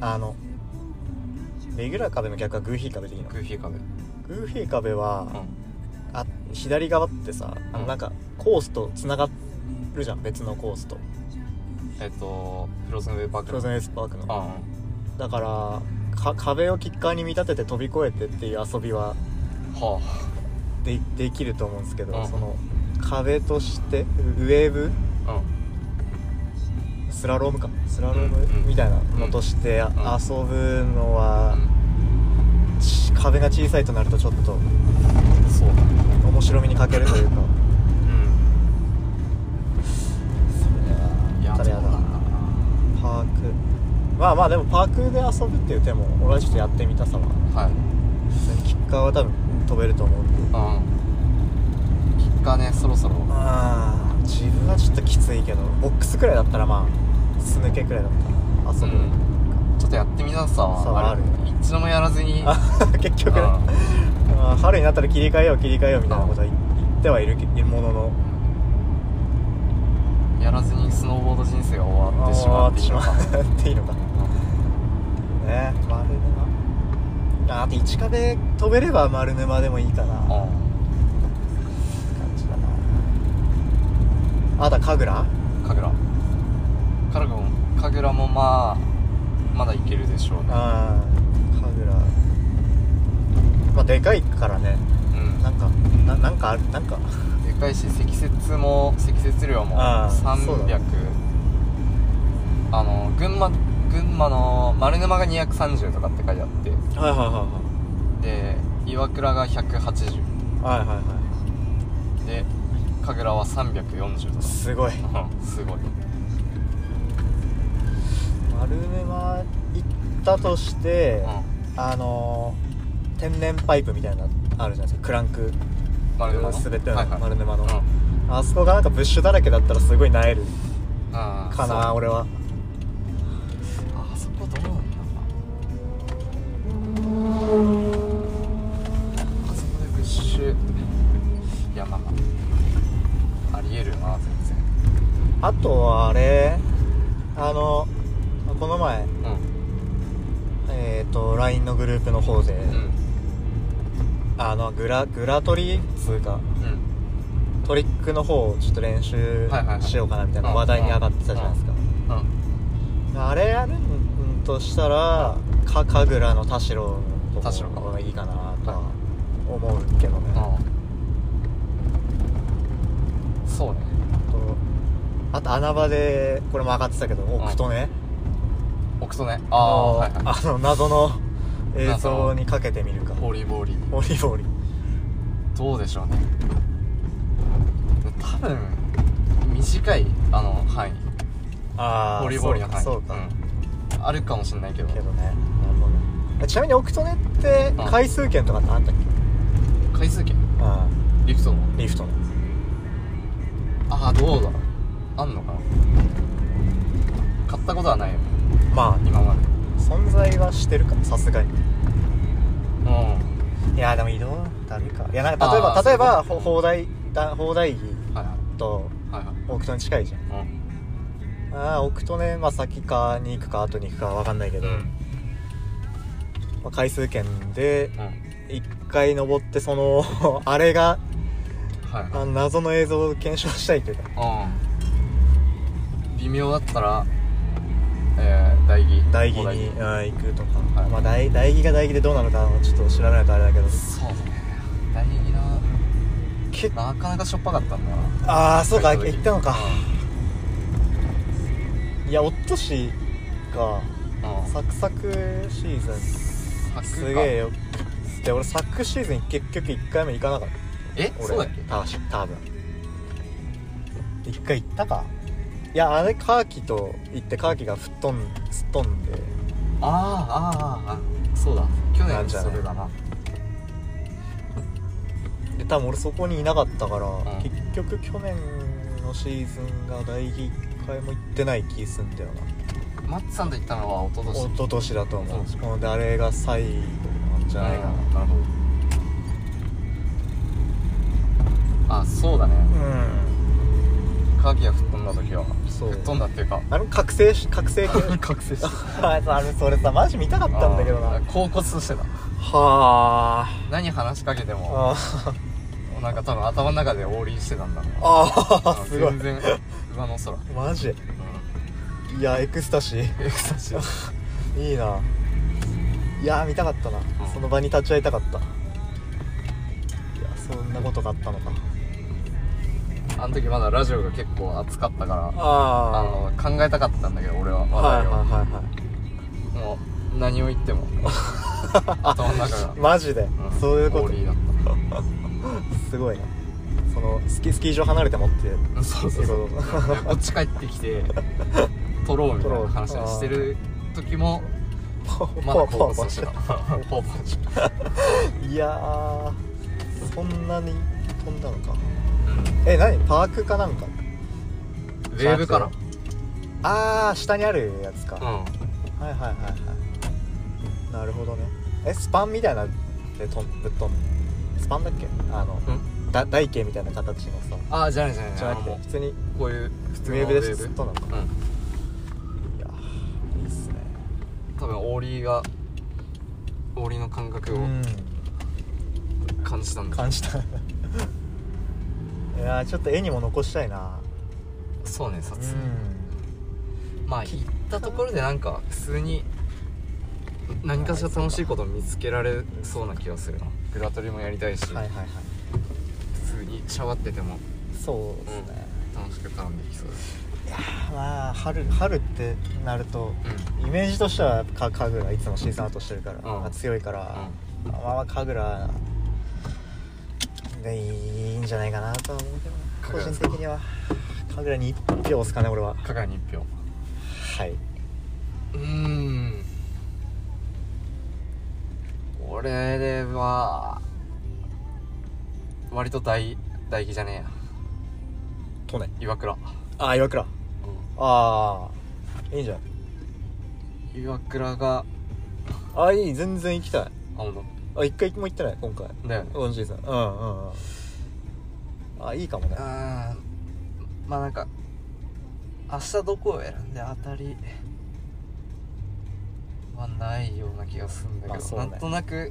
S1: あのレギュラー壁の逆はグーフィー壁でいいの
S2: グーフィー壁う
S1: グーフィー壁は、
S2: ん
S1: あ左側ってさあ
S2: う
S1: の
S2: ん
S1: なんかコースとつながるじゃん別のコースと
S2: えっとフローズンウェイパーク
S1: プロゼンエスパークの
S2: あ
S1: だからか壁をキッカーに見立てて飛び越えてっていう遊びは
S2: あは
S1: でできると思うんですけど、
S2: うん
S1: その壁としてウェーブ
S2: あうん
S1: スラロームかスラローム
S2: うん
S1: みたいなのとしてあ
S2: ん
S1: 遊ぶのは、ち壁が小さいとなるとちょっと
S2: うんそうだね
S1: 面白みに欠けるというかそれ
S2: うんいや
S1: はただやだ
S2: そうだな
S1: パークまあまあでもパークで遊ぶっていう手も俺はちょっとやってみたさは
S2: はい
S1: それにキッカーは多分飛べると思うんで
S2: うんキッカーねそろそろ
S1: ああ自分はちょっときついけどボックスくらいだったらまあ素抜けくらいだったら遊ぶ、
S2: ちょっとやってみなさ
S1: そう
S2: はある
S1: ある
S2: 一度もやらずに
S1: あ結局ね
S2: あ
S1: あー春になったら切り替えよう切り替えようみたいなことは言言ってはいるけものの
S2: やらずにスノーボード人生が終わってしま
S1: あー
S2: っていいのか
S1: 終わってしまうっていいのかね丸沼あーあと1壁飛べれば丸沼でもいいかな
S2: うん
S1: 感じだなあとは神楽
S2: うん神楽神楽も神楽もまあまだいけるでしょうね
S1: ああ神楽まあでかいからね
S2: うん
S1: なんかななんかあるなんか
S2: でかいし積雪も積雪量も
S1: あーそうだ
S2: 300あの群馬群馬の丸沼が230とかって書いてあって
S1: はいはいはい
S2: で岩倉が180
S1: はいはいはいは
S2: で神楽は340と
S1: いすごい
S2: かすごい
S1: 丸沼行ったとして、あのー天然パイプみたいなのあるじゃないですかクランク
S2: 丸沼の
S1: 全ての
S2: はいはい
S1: 丸沼の、
S2: うん
S1: あそこがなんかブッシュだらけだったらすごいなえる
S2: あー
S1: か
S2: そ
S1: な
S2: う
S1: 俺は
S2: あそこどうなんだろうなあそこでブッシュいやまあまあありえるな全
S1: あとはあれあのこの前
S2: 然
S1: えっ、と LINE のグループの方で、
S2: うん
S1: あのグラグラトリっつうか
S2: うん
S1: トリックの方をちょっと練習
S2: はいはいはい
S1: しようかなみたいな話題に上がってたじゃないですか、
S2: うんうん
S1: あれやるんとしたらか神楽の田代の
S2: 田
S1: と
S2: 代か
S1: こがいいかなとは思うけどね、あ
S2: うんそうね
S1: とあと穴場でこれも上がってたけど奥とね
S2: 奥とね
S1: あ
S2: ああ
S1: の
S2: ーはいはい
S1: あの謎の映像にかけてみるか
S2: ボーリーボーリー
S1: オリボリ
S2: どうでしょうね多分短いあの範囲
S1: ああ
S2: ボリボリの範囲
S1: そうかそうか、
S2: うんあるかもしれないけど
S1: けどねなるほどねちなみに奥とねって
S2: うん
S1: 回数券とかってあったっけ、
S2: 回数券
S1: あ
S2: リフトの
S1: あリフトの
S2: ああどうだろうあんのかな買ったことはないよ
S1: まあ
S2: 今まで
S1: 存在はしてるかさすがに
S2: うん
S1: いやでも移動だるいかいやなんか例え
S2: あ
S1: ば
S2: ー
S1: 例えば
S2: そういうこと
S1: ほ砲台だ砲台
S2: はいは
S1: と
S2: いはいはい
S1: 奥戸に近いじゃんああ奥戸ね、まあ、先かに行くか後に行くか分かんないけ
S2: うん
S1: ど、まあ、回数券で
S2: うん
S1: 1回登ってその あれが
S2: はい
S1: あ
S2: はい
S1: の謎の映像を検証したいというか
S2: うん微妙だったらえー、代議
S1: 台木
S2: お
S1: に、うん、行くとか、
S2: はい
S1: まあ、台台木が台木でどうなのかはちょっと調べないとあれだけど
S2: そうだね代議な
S1: 結
S2: なかなかしょっぱかったんだな
S1: ああそうか
S2: 帰
S1: 行ったのかいやおっとしが
S2: うん
S1: サクサクシーズン
S2: 柵
S1: すげえよで俺サックシーズン結局1回目行かなかった
S2: え
S1: 俺
S2: そうだっけ
S1: たし多分一回行ったかいやあれカーキと行ってカーキが吹っ飛んすっ飛んで
S2: あああーあーあーそうだ去
S1: なん
S2: 年
S1: じゃ
S2: そ
S1: ない
S2: れだな
S1: で多分俺そこにいなかったから、
S2: ん
S1: 結局去年のシーズンが大一回も行ってない気すんだよな
S2: マッツさんと行ったのは一昨
S1: 一昨
S2: 年
S1: 年だと思
S2: そう
S1: ううんであれが最後なんじゃないかな
S2: なるほどあそうだね
S1: うん
S2: カーキが吹っ飛んだ時は
S1: そう
S2: 吹っ飛んだっていうか
S1: あれも覚醒し 覚醒系
S2: 覚醒し
S1: あれあれそれさマジ見たかったんだけどな
S2: 恍惚としてた
S1: はあ
S2: 何話しかけても
S1: あ
S2: なんか多分頭の中でオーリーしてたんだろうな
S1: ああ
S2: うん
S1: すごい
S2: 全然上の空
S1: マジいやエクスタシー
S2: エクサシー
S1: いいないやー見たかったな、
S2: ん
S1: その場に立ち会いたかったんなことがあったのか
S2: あの時まだラジオが結構熱かったからあ
S1: あ
S2: の考えたかったんだけど俺は
S1: あ
S2: 話
S1: はい
S2: 題を、
S1: はいはいはい
S2: もう何を 言っても頭の中が、
S1: マジで、
S2: ん
S1: そういうこ
S2: オー
S1: と
S2: リーだっ
S1: すごいなそのスキスキー場離れてもって
S2: たそうそうそう
S1: そうそう
S2: でこっち帰ってきて撮ろうみたいな話をしてる時も
S1: ポワ
S2: ま
S1: ポ
S2: だ
S1: ワポ
S2: 高
S1: ワ
S2: 校生してたポワポワして た
S1: いやーそんなに飛んだのか
S2: うん
S1: え何パークかなんか
S2: ウェーブから
S1: ああ下にあるやつか、
S2: うん
S1: はいはいはいはいなるほどねえスパンみたいなでとんぶっ飛んスパンだっけあの
S2: うん
S1: だ台形みたいな形のさ
S2: ああじゃないじゃない
S1: じ
S2: じ
S1: ゃ
S2: ゃ
S1: な
S2: ない
S1: くて
S2: も
S1: 普通にウ
S2: うこういう普通の
S1: ェーブで
S2: ウェ
S1: すっとなのか
S2: うん
S1: いやーいいっすね
S2: 多分オーリーがオーリーの感覚を
S1: うん
S2: 感じたんだ
S1: 感じた いやーちょっと絵にも残したいな
S2: そうね撮
S1: う
S2: 影
S1: ん
S2: まあ行ったところでなんか普通に何かしら楽しいことを見つけられそうな気がするなグラトリもやりたいし、
S1: はいはいはい
S2: 普通にシャワってても
S1: そうですね、
S2: 楽しく絡んでいきそうです
S1: まあ春春ってなるとイメージとしてはか神楽いつもシーサーアウトしてるから、
S2: うん
S1: 強いから、まあまあ神楽でいいんじゃないかなとは思うけど
S2: 神
S1: 個
S2: 楽で
S1: 人
S2: すか
S1: 的には神楽に1票押すかね俺は
S2: うん加賀に1票
S1: はいう
S2: ーん俺では割と大大義じゃね
S1: とね
S2: えや岩倉、
S1: ああ岩倉ああいいんじゃない
S2: 岩倉が
S1: ああいい全然行きたい
S2: あほんと
S1: あ一回も行ってない今回
S2: だよね
S1: 今シーズンうんうんうんあいいかもね
S2: あーまあなんか明日どこを選んで当たりはないような気がするんだけ
S1: まあそ
S2: ど、
S1: うね
S2: なんとなく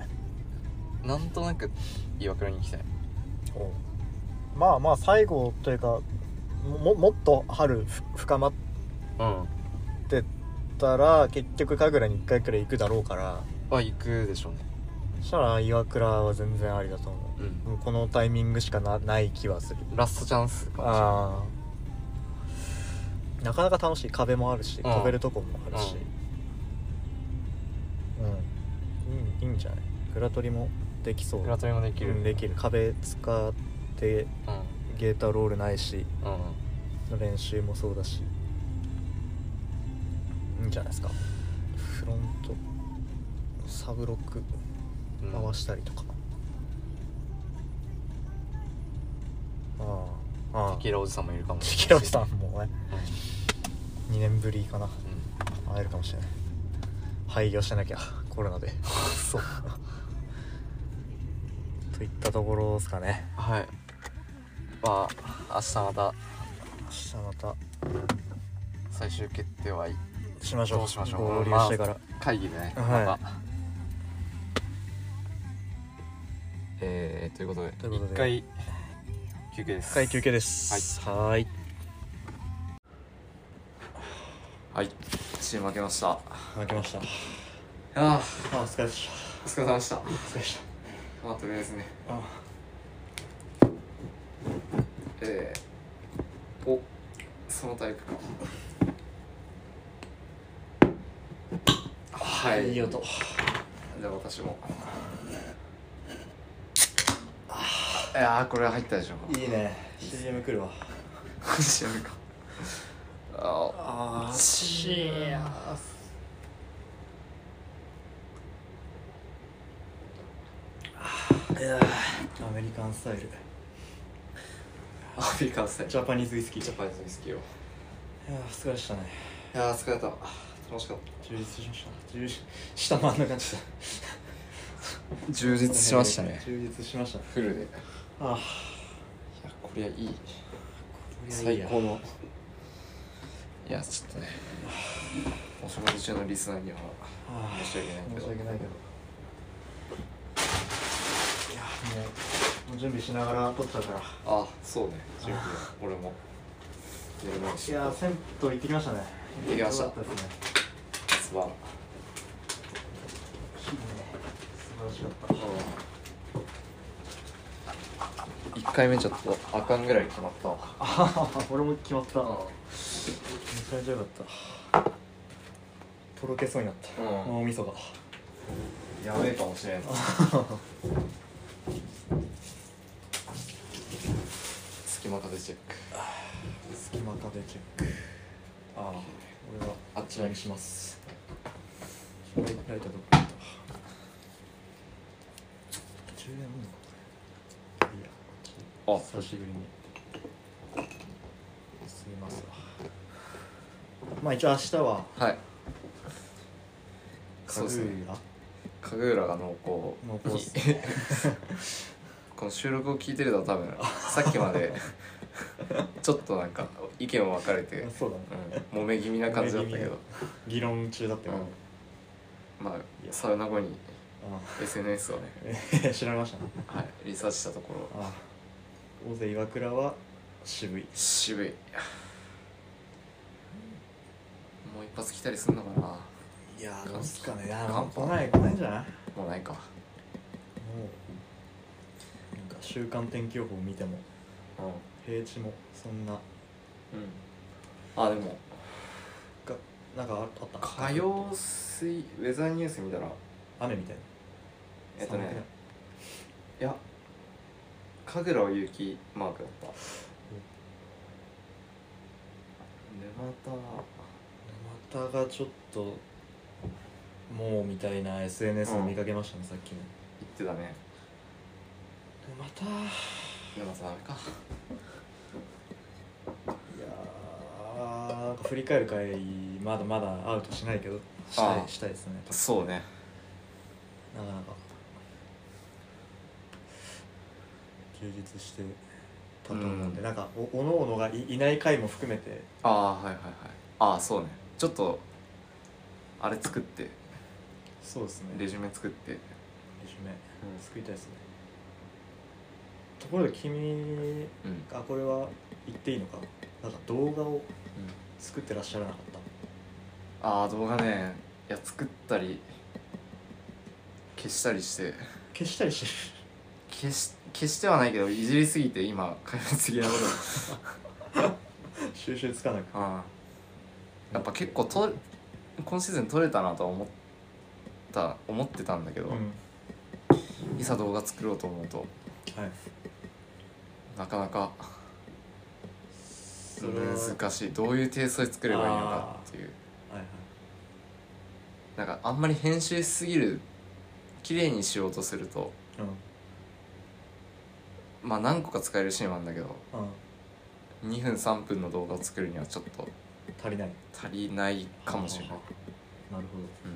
S2: なんとなく岩倉に行きたい
S1: まあまあ最後というかももっと春ふ深まっ
S2: うん
S1: ってったら結局神楽に1回くらい行くだろうから
S2: は行くでしょうね
S1: そしたら岩倉は全然ありだと思
S2: う
S1: う、
S2: ん
S1: もうこのタイミングしかなない気はする
S2: ラストチャンスかもしれない
S1: ああなかなか楽しい壁もあるし
S2: ん
S1: 飛べるとこもあるしうん、いいいいんじゃないグラトリもできそう
S2: グラトリもできる、
S1: うんできる壁使って
S2: うんうん
S1: ゲーターロールないし練習もそうだしいいんじゃないですかフロントサブロック
S2: うん
S1: 回したりとか、ああああ
S2: テキーラおじさんもいるかも
S1: テ
S2: し
S1: キ
S2: れ
S1: ラ
S2: ない
S1: さんもね2年ぶりかな
S2: うんうん
S1: 会えるかもしれない廃業してなきゃコロナで
S2: そう
S1: といったところですかね
S2: はいまあ明日また
S1: 明日また
S2: 最終決定は
S1: しましょう
S2: どうしましょう
S1: 合流してから、
S2: 会議でね、
S1: はい
S2: またえー、ということで
S1: ということで
S2: 一回休憩です
S1: 一回休憩ですはーい
S2: はいチーム負けました
S1: 負けました
S2: あ
S1: あお疲れでし
S2: ーお疲れ様でした
S1: たお疲れでし
S2: まあとりあえずね
S1: たあ
S2: えー、おそのタイプかは
S1: あ
S2: い
S1: いい音
S2: じゃあ私もいやーこれ入ったでしょ
S1: いいね CM 来るわ
S2: 知らんかあ
S1: ああ
S2: チ
S1: ーアメリカンスタイル
S2: アフリカンスタイル
S1: ジャパニーズウイスキー
S2: ジャパニーズウイスキーをい
S1: いやーお疲れでしたね
S2: やー疲れた楽しかっ
S1: 充実しました充実下もあんな感じだ
S2: た充実しましたね
S1: 充実しましたね
S2: フルでい
S1: あ
S2: やこりゃいい
S1: あ
S2: 最高のいやちょっとねお仕事中のリスナーには
S1: ああ
S2: 申し訳ないけど
S1: 申し訳ないけどいやもうもう準備しながら撮っちゃうからい
S2: あそうね準備俺も寝る前にし
S1: やー銭湯行ってきましたね
S2: 行ってきました
S1: よかったですね
S2: すば
S1: いいね素晴らしかった
S2: うん1回目ちょっとあかんぐらい決まったわ
S1: あ俺も決まっため
S2: う
S1: ちゃめちゃよかったとろけそうになった、
S2: うん
S1: 脳みそが
S2: んやべえかもしれん隙間風チェック
S1: 隙間風チェックああ俺は
S2: あっちらにします
S1: ライライターどこ行った充電あんのかこれいや
S2: あ
S1: 久しぶりにすみますわまあ一応明日は
S2: はい
S1: カ
S2: そう
S1: グ
S2: ですね
S1: ーラ
S2: 影浦が濃
S1: の
S2: 厚
S1: コー
S2: に
S1: ス
S2: この収録を聞いてると多分さっきまでちょっとなんか意見も分かれて、
S1: そうだね
S2: うん、揉め気味な感じだったけ
S1: 揉め
S2: ど、
S1: 議論中だったよ、
S2: うん、まあサウナ後に SNS をね、
S1: あ あ調べましたね
S2: はい、リサーチしたところ
S1: ああ大勢岩倉は渋い
S2: 渋いもう一発来たりすんのかない
S1: や
S2: ー
S1: ど
S2: ど
S1: う
S2: う
S1: す
S2: す
S1: か
S2: か
S1: ね
S2: ね
S1: い
S2: い
S1: や
S2: や
S1: ー
S2: ー
S1: 来ない来ないんじゃないも
S2: もうないか
S1: うなんか週間天気予報見ても
S2: うん、うん、
S1: 平地もそんな
S2: あでも
S1: がなんかあった
S2: 火曜水ウェザーニュース見たら
S1: 雨みたいな
S2: えっと
S1: 寒くない
S2: ねいや神楽雪マークだった沼
S1: 沼田がちょっともうみたいな SNS を見かけましたね、さっきも
S2: 田行ってたね
S1: 沼田い
S2: 沼田ダメか
S1: やーなんか振り返る回まだまだアウトしないけどした
S2: あ
S1: い
S2: あ
S1: したいですね
S2: そうね
S1: なかなか充実してたと思うんで、
S2: うん
S1: なんかおおのおのがいいない回も含めて
S2: ああはいはいはいああそうねちょっとあれ作って
S1: そうですね
S2: レジュメ作って、
S1: レジュメ作りたいですねところで君
S2: うん
S1: あこれは言っていいのかなんか動画を作ってらっしゃらなかった
S2: ああ動画ねいや作ったり消したりして
S1: 消したりして る
S2: 消し消してはないけどいじりすぎて今壊滅的なことに
S1: 収集つかな く
S2: ああやっぱ結構と今シーズン取れたなとは思った思ってたんだけど、
S1: うん
S2: いざ動画作ろうと思うと
S1: はい
S2: なかなか
S1: それは
S2: 難しいどういうテイストで作ればいいのかっていう
S1: はいはい
S2: なんかあんまり編集しすぎる綺麗にしようとすると
S1: うん
S2: まあ何個か使えるシーンはあるんだけど
S1: うん
S2: 2分3分の動画を作るにはちょっと
S1: 足りない
S2: 足りないかもしれない、
S1: なるほど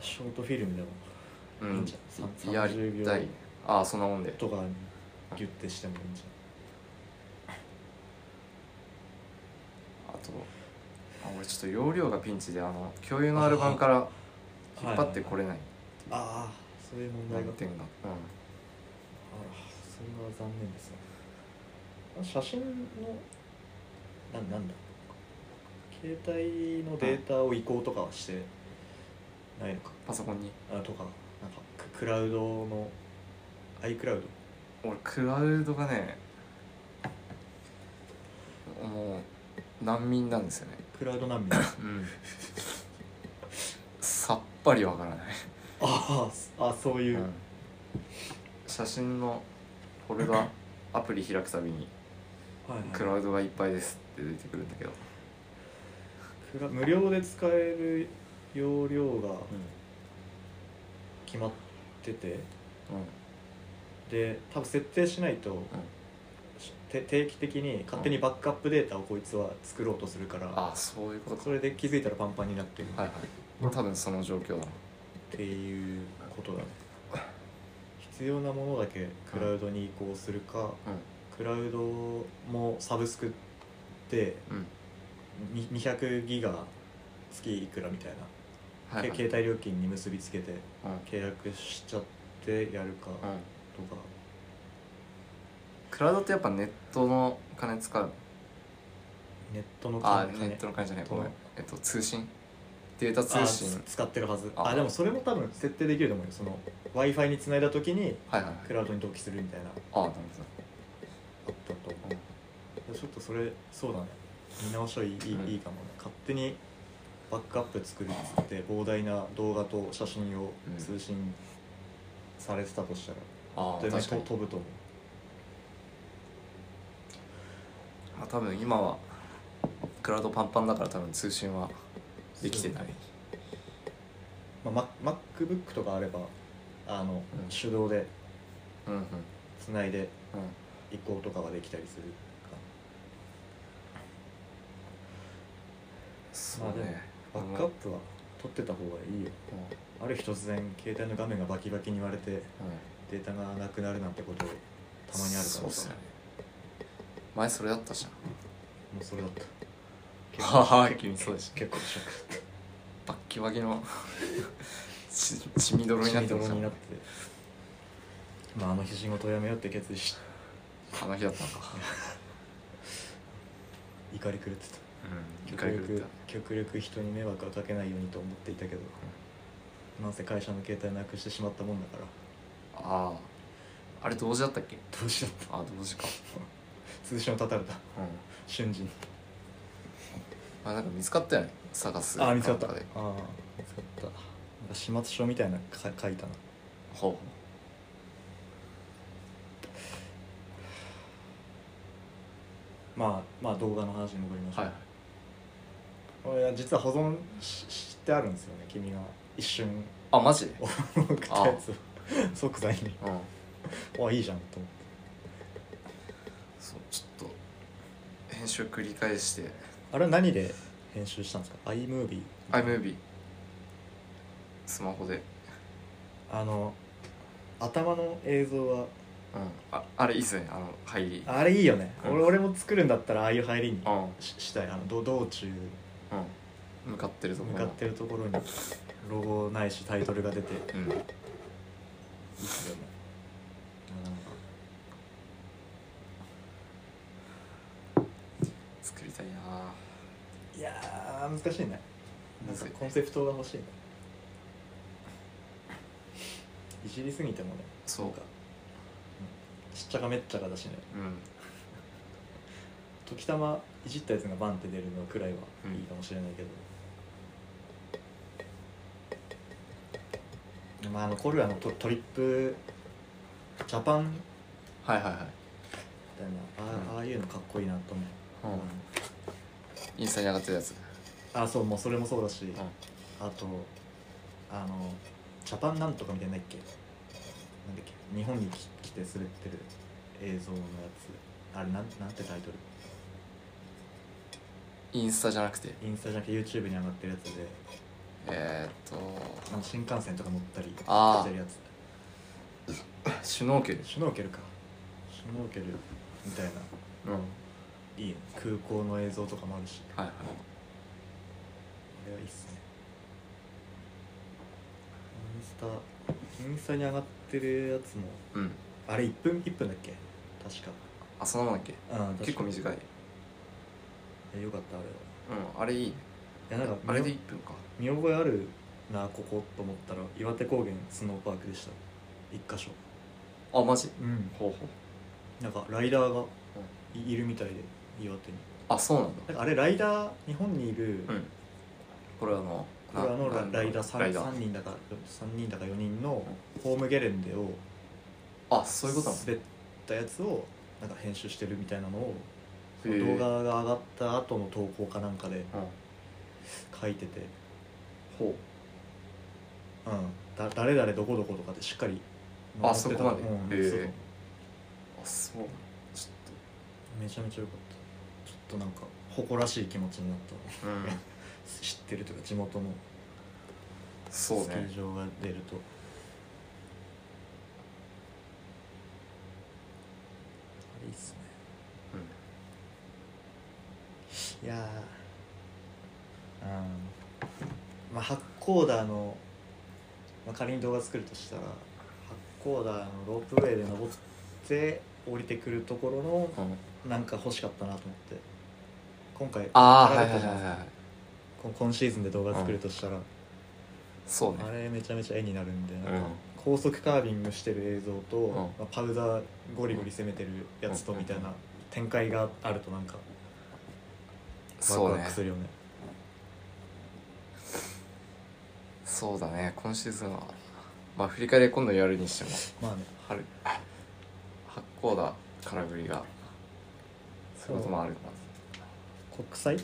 S1: ショートフィルムでも
S2: う
S1: いい
S2: ん
S1: んじゃんさ
S2: うんん、やりた
S1: 30秒
S2: いああそんなもんで
S1: とかにギュッてしてもいいんじゃ
S2: あとあ俺ちょっと容量がピンチであの共有のアルバムから
S1: ん
S2: 引っ張ってこれない
S1: はいはいはいああそういう問題
S2: 難
S1: があ
S2: 点が、
S1: あそれは残念ですね写真のなんなんだ携帯のデータを移行とかはしてないのか
S2: パソコンに
S1: あとかなんかククラウドの iCloud
S2: 俺クラウドがねもう難民なんですよね
S1: クラウド難民あ
S2: うんさっぱりわからない、
S1: あそあそういう、
S2: うん写真のフォルダアプリ開くたびに
S1: はいはい
S2: 「クラウドがいっぱいです」って出てくるんだけど、
S1: クラ無料で使える容量が決まってて
S2: うん
S1: で多分設定しないと、て定期的に勝手にバックアップデータをこいつは作ろうとするから、
S2: ああそういうことか
S1: それで気づいたらパンパンになってる
S2: はいはい俺多分その状況だな
S1: っていうことだね必要なものだけクラウドに移行するかクラウドもサブスクで
S2: うんうん
S1: に200ギガ月いくらみたいな、
S2: はい
S1: け
S2: はい
S1: 携帯料金に結びつけて
S2: うん
S1: 契約しちゃってやるかとか
S2: うん、クラウドってやっぱネットの金使う
S1: ネットの
S2: あ
S1: 金
S2: ネットの金じゃないごめん
S1: ネッ
S2: えっと通信データ通
S1: あ
S2: 信
S1: つ使ってるはず
S2: あ
S1: あでもそれも多分設定できると思うよその w i f i に繋いだ時に
S2: はいはいはい
S1: クラウドに同期するみたいなあっ
S2: ああなる
S1: たと思うちょっとそれそうだね見直しはいい,、
S2: うん
S1: いいかもね勝手にバックアップ作るっつって膨大な動画と写真を
S2: うん
S1: 通信されてたとしたら、
S2: ほどああ
S1: 全然
S2: 確かに
S1: 飛ぶと思う
S2: まあ多分今はクラウドパンパンだから多分通信はできてない
S1: まあ、マ MacBook とかあればあの、
S2: うん
S1: 手動で
S2: うんうん
S1: つないで
S2: うん
S1: 移行とかはできたりするか
S2: そうね
S1: バックアップは取ってた方がいいよある日突然携帯の画面がバキバキに割れて
S2: うんうん
S1: データがなくなるなんてことたまにあるか
S2: そう
S1: ら
S2: っすよね前それだったじ
S1: もうそれだった
S2: ゃんははー君そうでしょ
S1: 結構ショックだっ
S2: バッキバキの ち血みどろ
S1: た
S2: になって
S1: 血み
S2: ま
S1: どろ
S2: した
S1: になってまああの日仕事辞めようって決意し
S2: あの日だったのか
S1: 怒り狂ってた
S2: うん
S1: 極力極力人に迷惑をかけないようにと思っていたけど、なんせ会社の携帯なくしてしまったもんだから
S2: あああれ同時だったっけ
S1: どうしよう
S2: ああ同時か
S1: 通信を断たれた
S2: うん
S1: 瞬時に
S2: あなんか見つかったよね探す
S1: ああ見つかったあ
S2: か
S1: あ
S2: なんで
S1: 見つかったなんか始末書みたいなのか書いたな
S2: ほうほ
S1: まあまあ動画の話に戻りまし
S2: う
S1: ょう、
S2: はいはい
S1: 俺は実は保存ししてあるんですよね君が一瞬
S2: あマジで
S1: 送ったやつを即座に
S2: うん
S1: あいいじゃんと思って
S2: そうちょっと編集繰り返して
S1: あれは何で編集したんですか iMovie
S2: iMovie スマホで
S1: あの頭の映像は
S2: うんああれいいっすねあの入り
S1: あれいいよね、
S2: うん
S1: 俺俺も作るんだったらああいう入りに
S2: うん
S1: ししたいあのど道中
S2: うん向かってるとこ
S1: 向
S2: ろ
S1: かってるところにロゴないしタイトルが出ていい
S2: うん
S1: ですよねなんか
S2: 作りたいない
S1: やー難しいねなんかコンセプトが欲しいねいじりすぎてもね
S2: そう
S1: なんかうんちっちゃかめっちゃかだしね
S2: うん
S1: 時たまいじったやつがバンって出るのくらいはいいかもしれないけど、まああのコルアのトトリップジャパンみ
S2: はいはいはい
S1: たいなあ,、ああいうのかっこいいなと思
S2: う
S1: う、
S2: んインスタに上がってるやつ
S1: あそうもうそれもそうだし、
S2: ん
S1: あとあのジャパンなんとかみたいなのないっけなんだっけ日本にき来て滑ってる映像のやつあれなんなんてタイトル
S2: インスタじゃなくて
S1: インスタじゃなくて YouTube に上がってるやつで
S2: えー、っ
S1: あの新幹線とか乗ったり
S2: あー
S1: してるやつ
S2: とシュノーケル
S1: シュノーケルかシュノーケルみたいな
S2: うんはい
S1: いいね空港の映像とかもあるし
S2: はい
S1: あれはいいっすねインスタインスタに上がってるやつも
S2: うん
S1: あれ1分1分だっけ確か
S2: あそんなもんだっけ
S1: うん
S2: 結構
S1: い
S2: 短い
S1: よかったあれは
S2: うんあれいいね
S1: いやなんか
S2: あれで
S1: 見
S2: 1分か
S1: 見覚えあるなここと思ったら岩手高原スノーパークでした一箇所
S2: あマジ
S1: うん
S2: ほうほう
S1: なんかライダーがいいるみたいで岩手に
S2: あそうなんだ
S1: なんかあれライダー日本にいる、
S2: うんこれあの
S1: これあのラ
S2: な
S1: ライダー 3,
S2: ライダー
S1: 人だか3人だか4人のホームゲレンデを
S2: あそういうことなの
S1: 滑ったやつをなんか編集してるみたいなのをそ
S2: へ
S1: の動
S2: ー
S1: 画が上がった後の投稿かなんかで
S2: うん
S1: 書いてて、うん、
S2: ほ
S1: だ誰々どこどことかでしっかり
S2: あそこまで
S1: うん
S2: へー
S1: そう
S2: うあそうち
S1: めちゃめちゃ良かったちょっとなんか誇らしい気持ちになっ
S2: ょっとうん
S1: た知ってるというか地元のスキ
S2: そうね
S1: ー場が出ると、あれいいっすね
S2: うん
S1: いやーうんまあ、発光ダーの、まあ、仮に動画作るとしたら発光ダーのロープウェイで登って降りてくるところの
S2: うん
S1: なんか欲しかったなと思って今回
S2: ああ
S1: あ
S2: はい
S1: ら
S2: は
S1: れ
S2: い
S1: た
S2: は
S1: じ
S2: い
S1: ゃ
S2: は
S1: ない
S2: いはい
S1: こ今シーズンで動画作るとしたら、
S2: そうね
S1: あれめちゃめちゃ絵になるんでなんか、
S2: うん
S1: 高速カービングしてる映像と、
S2: ん
S1: まあパウダーゴリゴリ攻めてるやつとみたいな展開があるとなんかワク
S2: そう
S1: ワ
S2: ね
S1: クするよね
S2: そうだね今シーズンはまあ振り返り今度やるにしても
S1: まあね
S2: 春八甲田空振りがそういうこともあるんだ
S1: 国際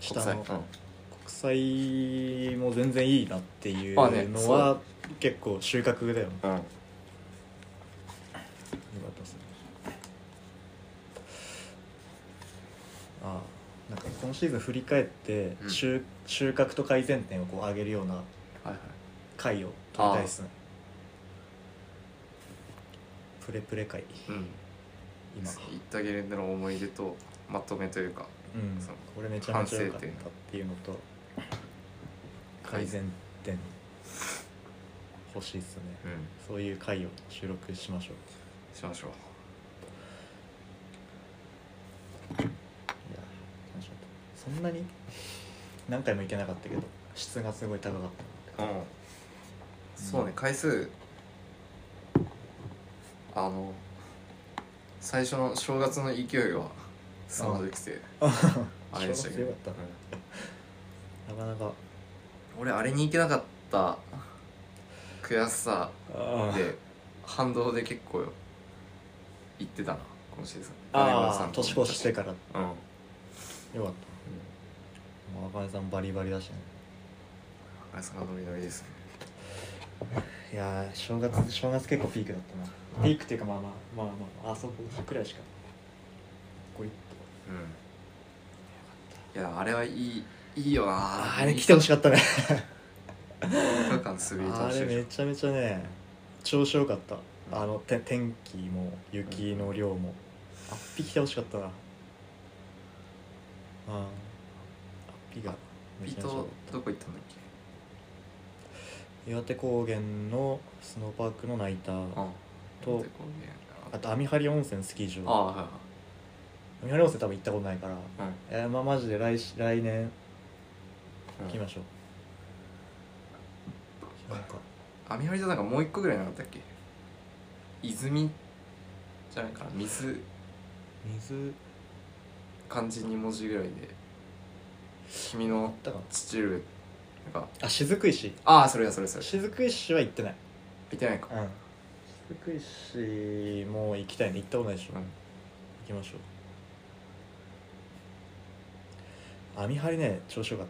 S1: 下
S2: 国際、う
S1: の
S2: ん、
S1: 国際も全然いいなっていう
S2: まあね
S1: のは結構収穫だよね
S2: うん、
S1: よかったですねああなんか今シーズン振り返って
S2: うん
S1: 収,、収穫と改善点をこう上げるような
S2: はいはい
S1: 回を取りたいですねプレプレ回
S2: うん
S1: 今、
S2: 行ったゲレンデの思い出とまとめというか
S1: うん
S2: そう、
S1: これめちゃめちゃ良かったっていうのと改善点欲しいですね
S2: うん
S1: そういう回を収録しましょう
S2: しましょう
S1: いや楽しかったそんなに何回も行けなかったけど質がすごい高かっ
S2: うんそうね回数あの最初の正月の勢いは凄まじくて
S1: た
S2: あれでしたけど
S1: よかったなかなか
S2: うん俺あれに行けなかった悔しさ
S1: あ
S2: で反動で結構行ってたな今シーズン
S1: あ年越しして
S2: か
S1: からよ
S2: らうん
S1: かったもう赤根さんバリバリだしね
S2: あれさがノリノリですね
S1: いやー正月正月結構ピークだったなピークっていうかまあまあまあまああそこくらいしかこれ
S2: うんいやあれはいいいいよな
S1: あれ来てほしかったね
S2: 4日間滑り
S1: あ
S2: 倒し
S1: れ
S2: て
S1: め
S2: る
S1: ちゃめちゃね調子良かったあのて天気も雪の量もあっぴ来てほしかったなうんあっぴがめ
S2: 伊
S1: ちゃめ
S2: 藤
S1: ちゃ良かっ
S2: どこ行ったんだっけ
S1: た岩手高原のスノーパークのナイター
S2: あ
S1: とあと網張温泉スキー
S2: ああ
S1: 場
S2: は
S1: 網張温泉多分行ったことないから
S2: いはい
S1: えーまあマジで来し来年
S2: うん
S1: 行きましょうなんか
S2: 網張りじゃなんかもう一個ぐらいなかったっけ泉じゃないかな水
S1: 水
S2: 漢字2文字ぐらいで君
S1: あっ
S2: の
S1: たかな
S2: 父上が
S1: あ雫石
S2: ああそれだそれそれ
S1: 雫石は行ってない
S2: 行ってないか
S1: うん福井市も行きたいね行ったことないでしょ、
S2: うん
S1: 行きましょう網張りね調子よかっ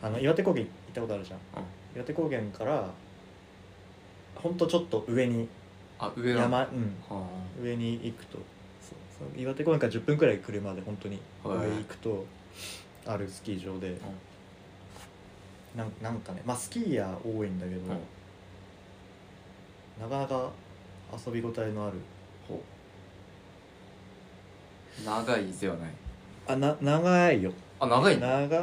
S1: たあの岩手高原行ったことあるじゃん、
S2: うん
S1: 岩手高原からほんとちょっと上に
S2: あ上だ
S1: 山、
S2: は
S1: うん、
S2: あ
S1: 上に行くとそうそう岩手公園から10分くらい車で本当に上
S2: はい
S1: 行くとあるスキー場で、なんなんかねまあスキーヤー多いんだけど、
S2: うん
S1: なかなか遊び応えのある
S2: ほう長いではない
S1: あな長いよ
S2: あ長いね
S1: 長う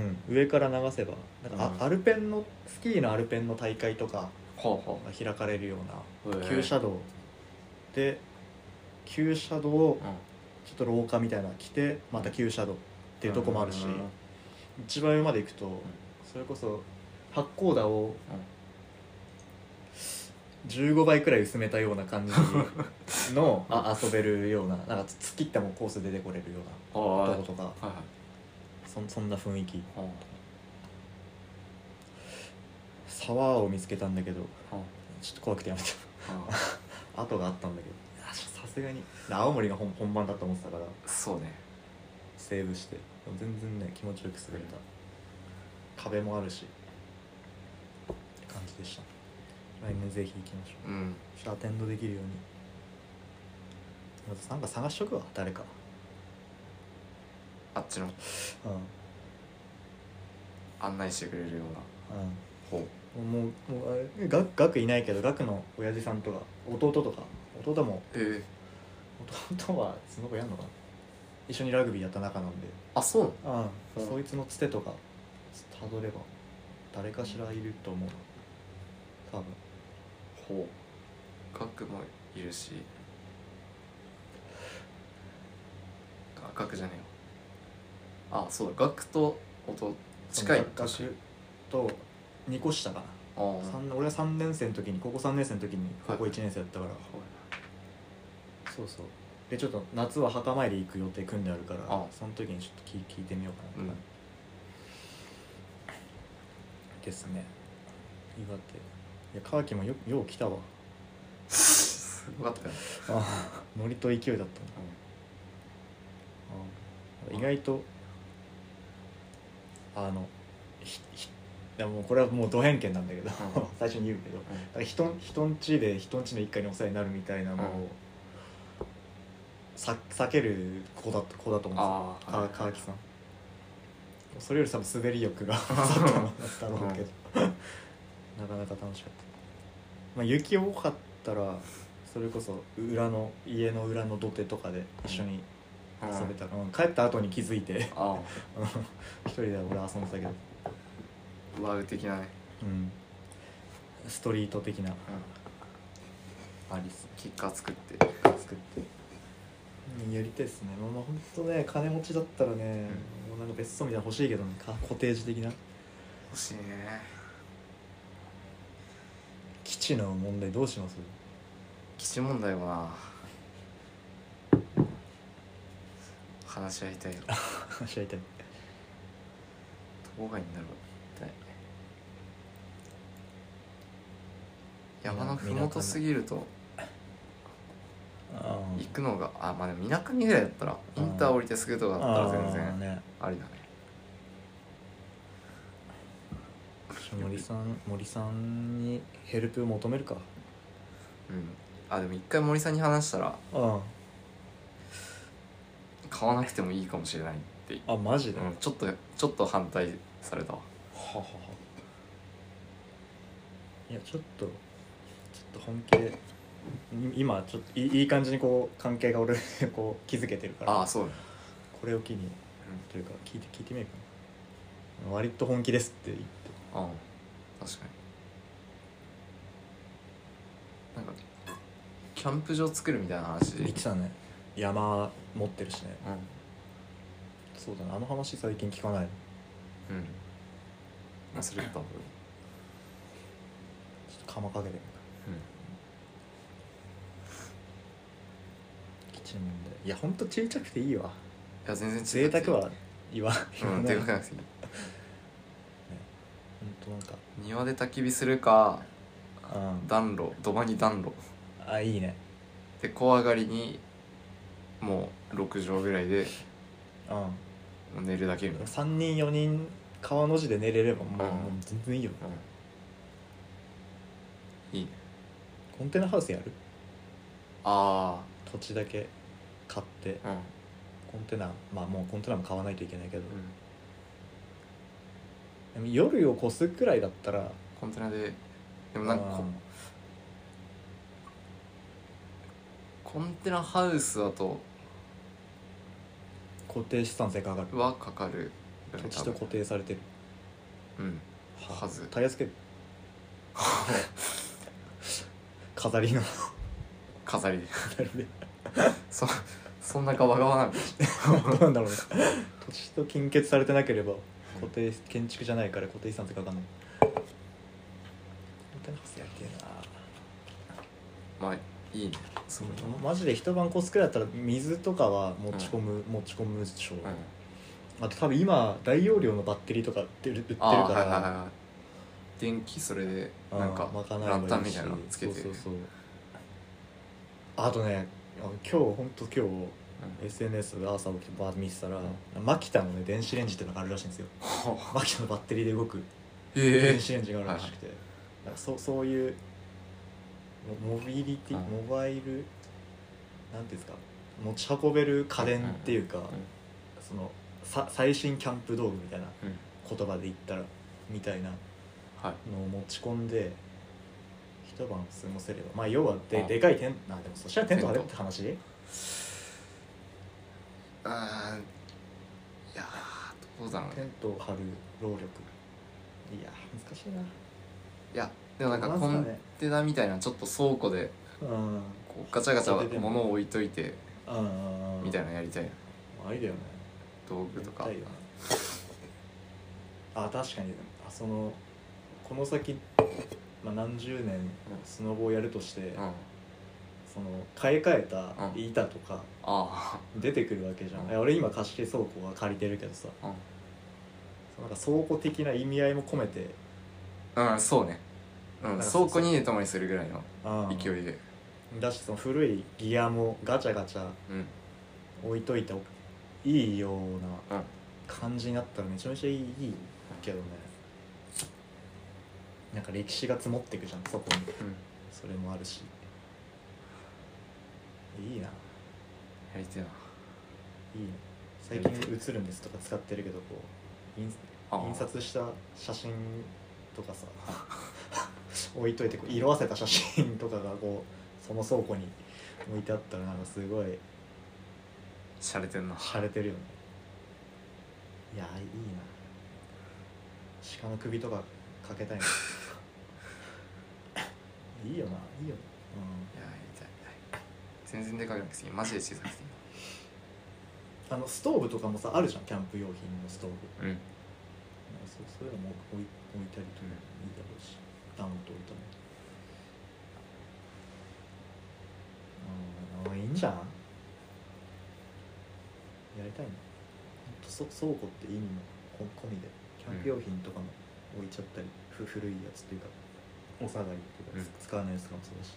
S1: ん上から流せばなんか、あ
S2: うん
S1: アルペンのスキーのアルペンの大会とか
S2: ほうほ
S1: が開かれるよう
S2: う
S1: な急車道で急車道を
S2: うん
S1: ちょっと廊下みたいなの来てまた急車道っていうとこもあるし、
S2: うん
S1: 一番上まで行くと、それこそ八甲田を15倍くらい薄めたような感じ のあ遊べるようななんか突っ切ってもコースで出てこれるよう
S2: ああ
S1: な
S2: は
S1: と
S2: い
S1: ことか
S2: はい
S1: そんそんな雰囲気
S2: ほう
S1: 沢を見つけたんだけど
S2: ほう
S1: ちょっと怖くてやめ
S2: あ
S1: た後があったんだけどいやさすがに青森が本本番だと思ってたから
S2: あそうね
S1: セーブして全然ね気持ちよく滑れた壁もあるしって感じでした来年ぜひ行きましょう
S2: うん
S1: ちょっとアテンドできるようにまずなんか探しとくわ誰か
S2: あっちの
S1: うん
S2: 案内してくれるようなほう
S1: うんもうもうあれガクガクいないけどガクの親父さんとか弟とか弟も
S2: ええ
S1: 弟はその子やんのかな一緒にラグビーやった仲なんで
S2: あそう
S1: う、
S2: うんん
S1: そいつのつてとかたどれば誰かしらいると思う多分
S2: ほう学もいるしあ学じゃねえよあそうだ学と弟近い
S1: 年と2個下か
S2: あー
S1: な、三俺が3年生の時に高校3年生の時に高校1年生だったから、そうそうでちょっと夏は墓参り行く予定組んであるから
S2: あ
S1: その時にちょっと聞聞いてみようかな、
S2: うん
S1: ですね岩手いや川木もよよう来たわ
S2: すごかったよね
S1: あーノリと勢いだったなあー意外とあのひひいやもうこれはもうド偏見なんだけど 最初に言うけどだから人ん人んちで人んちの一家にお世話になるみたいなの
S2: う
S1: を、さ避ける子だ子だと思うんですよ
S2: あ
S1: か
S2: あ
S1: 川木さんそれより多分滑り欲が 勝ったのだろうけど、なかなか楽しかった、まあ、雪多かったらそれこそ裏の家の裏の土手とかで一緒に遊べたら、うん帰った後に気づいて
S2: ああ
S1: 一人で俺は遊んでたけど、
S2: ワウ的なね、
S1: うん、ストリート的な
S2: うん、
S1: アリス
S2: キッカー作って
S1: 作ってうんやりたいっすねまあまあ本当ね金持ちだったらね、もうなんか別荘みたいなの欲しいけどねかコテージ的な
S2: 欲しいね
S1: 基地の問題どうします
S2: 基地問題はな話し合いたいよ
S1: 話し合いたい
S2: 郊外になるわ絶対山のふもとすぎると
S1: あ
S2: 行くのがあまあでもみなかみぐらいだったらインター降りてすぐとかだったら全
S1: あー
S2: 然
S1: ね
S2: ありだね
S1: 森さん森さんにヘルプ求めるか
S2: うんあでも一回森さんに話したら
S1: あ
S2: 買わなくてもいいかもしれないって、
S1: ああマジで、
S2: うん、ちょっとちょっと反対されたわ
S1: はははいやちょっとちょっと本気でい今ちょっといいいい感じにこう関係が俺 こう築けてるから
S2: ああそうだね
S1: これを機にというか聞いて聞いてみるかな割と本気ですって言って
S2: うんうん確かになんかキャンプ場作るみたいな話で、うん
S1: 言ってたね山持ってるしねそうだねあの話最近聞かないの
S2: うん、忘れてた、うん、
S1: ちょっと釜かけてみる基地の問題いやほんとちっちゃくていいわ
S2: いや全然
S1: 贅
S2: 違くていい
S1: 沢は言わ言わ
S2: うん
S1: ない
S2: で
S1: ほ
S2: か
S1: ん
S2: くなくていい
S1: となんか
S2: 庭で焚き火するか
S1: うん
S2: 暖炉土間に暖炉
S1: あいいね
S2: で小上がりにもう6畳ぐらいで
S1: う
S2: もう寝るだけみた
S1: ん
S2: いな、
S1: 3人4人川の字で寝れればもう,、
S2: うん
S1: もう全然いいよ
S2: うん、いいね
S1: コンテナハウスやる
S2: あ
S1: 土地だけ買って
S2: あうん
S1: コンテナまあもうコンテナも買わないといけないけど、でも夜を越すくらいだったら
S2: コンテナででもなんかこ
S1: うん
S2: コンテナハウスだと
S1: 固定資産税かかる
S2: はかかるよね
S1: 土地と
S2: 多分
S1: 固定されてる
S2: うんはず
S1: タイヤつける飾りの
S2: 飾りで
S1: なるで
S2: そそんなガバガバなの
S1: どうなんだろうね土地と金欠されてなければ固定建築じゃないから固定資産ってかかんないコンテナハウスやりてえ
S2: まあいいねそれ
S1: なマジで一晩コスくらいだったら水とかは持ち込む、持ち込むでしょう、
S2: う
S1: あと多分今大容量のバッテリーとか売ってる売ってる
S2: ん、
S1: から
S2: ああーはいはいはい電気それで
S1: うん
S2: なんか
S1: まか
S2: ラ
S1: なえばいいし
S2: ンタンみたいなのつけて
S1: そうそうそうあとねあの今日本当今日 SNS で朝起きてバーッと見てたら、マキタのね電子レンジってのがあるらしいん ですよマキタのバッテリーで動く
S2: え
S1: 電子レンジがあるらしくて、なんかそうそういうモモビリティ、
S2: はい
S1: モバイルなんていうんですか持ち運べる家電っていうか、
S2: んうん
S1: そのさ最新キャンプ道具みたいな
S2: えうん
S1: 言葉で言ったらみたいな
S2: はい
S1: のを持ち込んで一晩過ごせればまあ要はで
S2: あ
S1: でかいテントあでもそしたらテント張れ
S2: テ
S1: っ
S2: ント
S1: て話
S2: あーいやーどうだろう
S1: テ
S2: ね
S1: ントを張る労力いや難しいない
S2: やでもなんか
S1: どう
S2: コ
S1: なんす
S2: ン
S1: かね
S2: テナみたいなちょっと倉庫で
S1: うんうん
S2: こうガチャガチ
S1: そうでも
S2: ャ物を置いといて
S1: うんうん
S2: みたい
S1: な
S2: なのやりたいな
S1: ありだよね
S2: 道具とか
S1: やりたいよねあ確かにあそのこの先、まあ、何十年スノボをやるとして、
S2: うんあ
S1: その買い替えた
S2: うん
S1: 板とか
S2: あ
S1: 出てくるわけじゃん、
S2: うん
S1: いや俺今貸し切り倉庫は借りてるけどさ
S2: う
S1: なんか倉庫的な意味合いも込めて
S2: ん、うん、そうね、う
S1: なん
S2: ん、
S1: か
S2: 倉庫に寝泊まりするぐらいの
S1: あー
S2: 勢いで
S1: だしその古いギアもガチャガチャ
S2: うん
S1: 置いといていいような
S2: うん
S1: 感じになったらめちゃめちゃいいけどねなんか歴史が積もっていくじゃんそこに
S2: うん
S1: それもあるしいいな
S2: やりてえない
S1: いね最近「映るんです」とか使ってるけどこう印
S2: あー
S1: 印刷した写真とかさ 置いといてこう色あせた写真とかがこうその倉庫に置いてあったらなんかすごい
S2: 洒落てんな
S1: 洒落てるよねいやーいいな鹿の首とかかけたい ないいよないいよ、
S2: いややりたい全然でかくなくていいマジで小さくてい
S1: う
S2: い
S1: ん、あのストーブとかもさあるじゃんキャンプ用品のストーブ
S2: うん
S1: なんかそうそういうのも置い置いたりとかもいいだろうし、ダウンと置いたりうんあーいいんじゃんやりたいなほんとそ倉庫って意味もこ込みでキャンプ用品とかも置いちゃったり、ふ古いやつというかお下がりというか、
S2: う
S1: 使わないやつとかもそうだし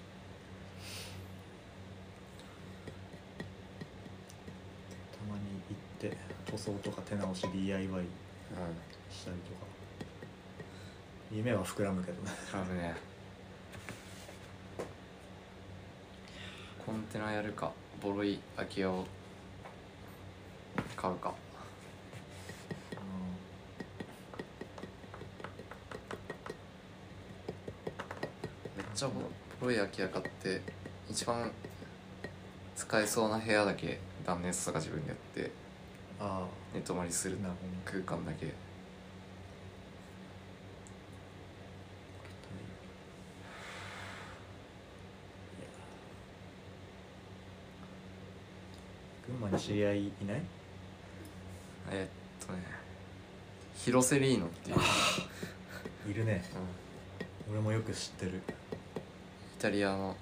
S1: たまに行って塗装とか手直し DIY したりとか夢は膨らむけどね
S2: うん危ねえコンテナやるかボロい空き家を買うかめっちゃボボロい空き家買って一番使えそうな部屋だけ断熱とか自分でやって
S1: ああ
S2: 寝泊まりする
S1: なるほど
S2: 空間だけ
S1: 群馬に知り合いいない
S2: えーっとね広瀬リーノっていう、うん
S1: いるね俺もよく知ってる
S2: イタリアの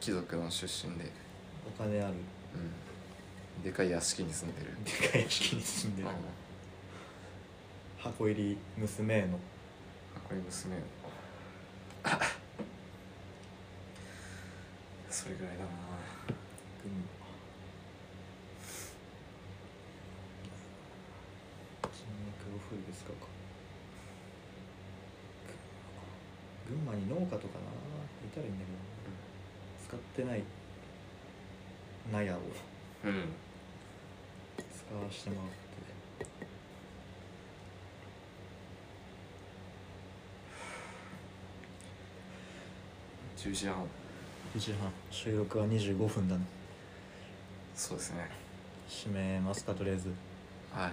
S2: 貴族の出身で、
S1: お金ある
S2: うん、でかい屋敷に住んでる、
S1: でかい敷に住んで
S2: うん
S1: る、箱入り娘への
S2: これ娘よ それぐらいだな
S1: 群馬人脈をフルですかか群馬に農家とかないたらいいんだけどな使ってない納屋を
S2: うん
S1: 使わしてもらって
S2: 10時半
S1: 1時半収録は25分だね
S2: そうですね
S1: 締めますかとりあえず
S2: はい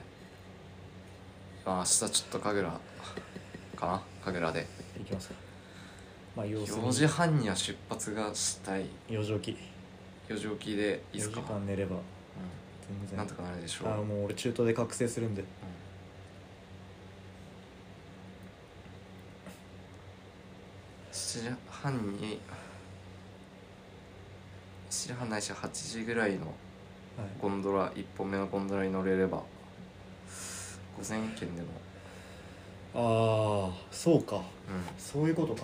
S2: まあ明日ちょっと神楽かな神楽で
S1: いきますかまあ様子見
S2: 4時半には出発がしたい
S1: 4時起
S2: 4時起きで
S1: き
S2: いいっす
S1: 4時
S2: か
S1: 間寝れば全
S2: う
S1: 然
S2: ん、なんとかなるでしょう
S1: ああもう俺中東で覚醒するんで
S2: 7時半に7時半ないし8時ぐらいの
S1: はい
S2: ゴンドラ1本目のゴンドラに乗れれば午前券でも
S1: ああそうか
S2: うん
S1: そういうことか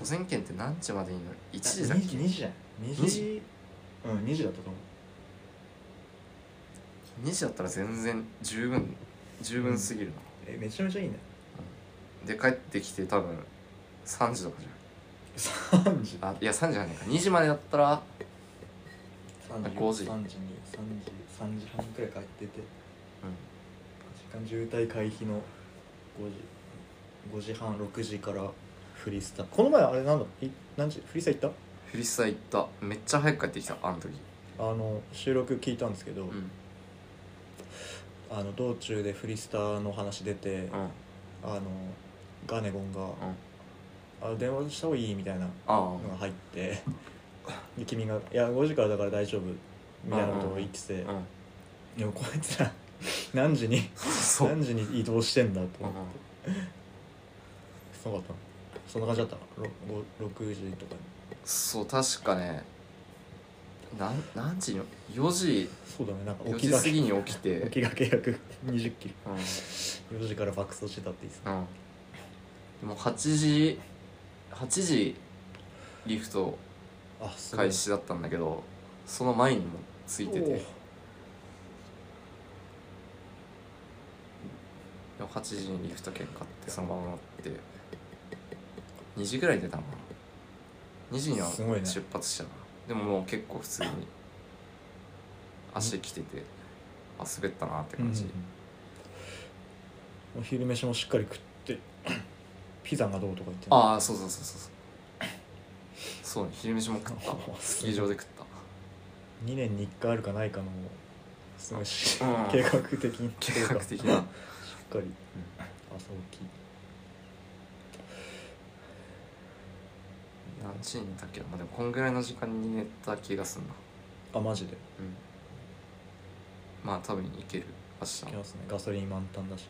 S2: 午前券って何時までに乗る1時だっ
S1: 2時2時
S2: け
S1: じゃん
S2: 2
S1: 2時うん2時だったと思
S2: 2時だったら全然十分十分すぎるな、
S1: うえめちゃめちゃいい ね
S2: で帰ってきて多分3時とかじ
S1: 3時
S2: ゃんあいや3時じゃないか2時までだったら
S1: 3
S2: 5時
S1: 時3時に3時3時半くらい帰ってて
S2: う
S1: 時間渋滞回避の5時5時半6時からフリスタこの前あれなんだい何時フリスタ行った
S2: んフリスタ行っためっちゃ早く帰ってきたあの時
S1: あの収録聞いたんですけど、
S2: うん
S1: あの道中でフリスタの話出て、
S2: うんうん
S1: あのガネゴンが、
S2: あ
S1: あ電話した方がいいみたいな
S2: あ
S1: のが入ってで君が「いや5時からだから大丈夫」みたいなことを言ってて、
S2: うん
S1: でもこいつら何時に
S2: そう
S1: 何時に移動してんだと
S2: う
S1: 思って
S2: ん
S1: そうだったのそんな感じだったのろご6時とかに
S2: そう確かねなん何時に4時
S1: そうだねなんか
S2: 4
S1: 起き
S2: 時
S1: が
S2: 過
S1: け
S2: ぎに起き
S1: 起
S2: て
S1: きがけ約20キ
S2: うん
S1: ロ4時から爆走してたって言ってた
S2: うんでも8時8時リフト
S1: あすごい
S2: 開始だったんだけどその前にもついてて
S1: お
S2: で
S1: う
S2: も8時にリフト券買ってそのまま乗って2時ぐらいに出たのかな2時には
S1: すごいね
S2: 出発したな、でももう結構普通に足きててあ滑ったなって
S1: うんうん
S2: 感じ、
S1: うんお昼飯もしっかり食ってピザがどうとか言って
S2: ああそうそうそうそうそうそうね昼飯も食ったスキー場で食っ
S1: 2年に1回あるかないかのすごいし、
S2: うん
S1: 計画的に
S2: た計画
S1: しっ
S2: 的な
S1: かり朝起き
S2: 何時に寝たっけなまあでもこんぐらいの時間に寝た気がすんな
S1: あマジで
S2: うんまあ多分いける明日
S1: 来ますねガソリン満タンだし、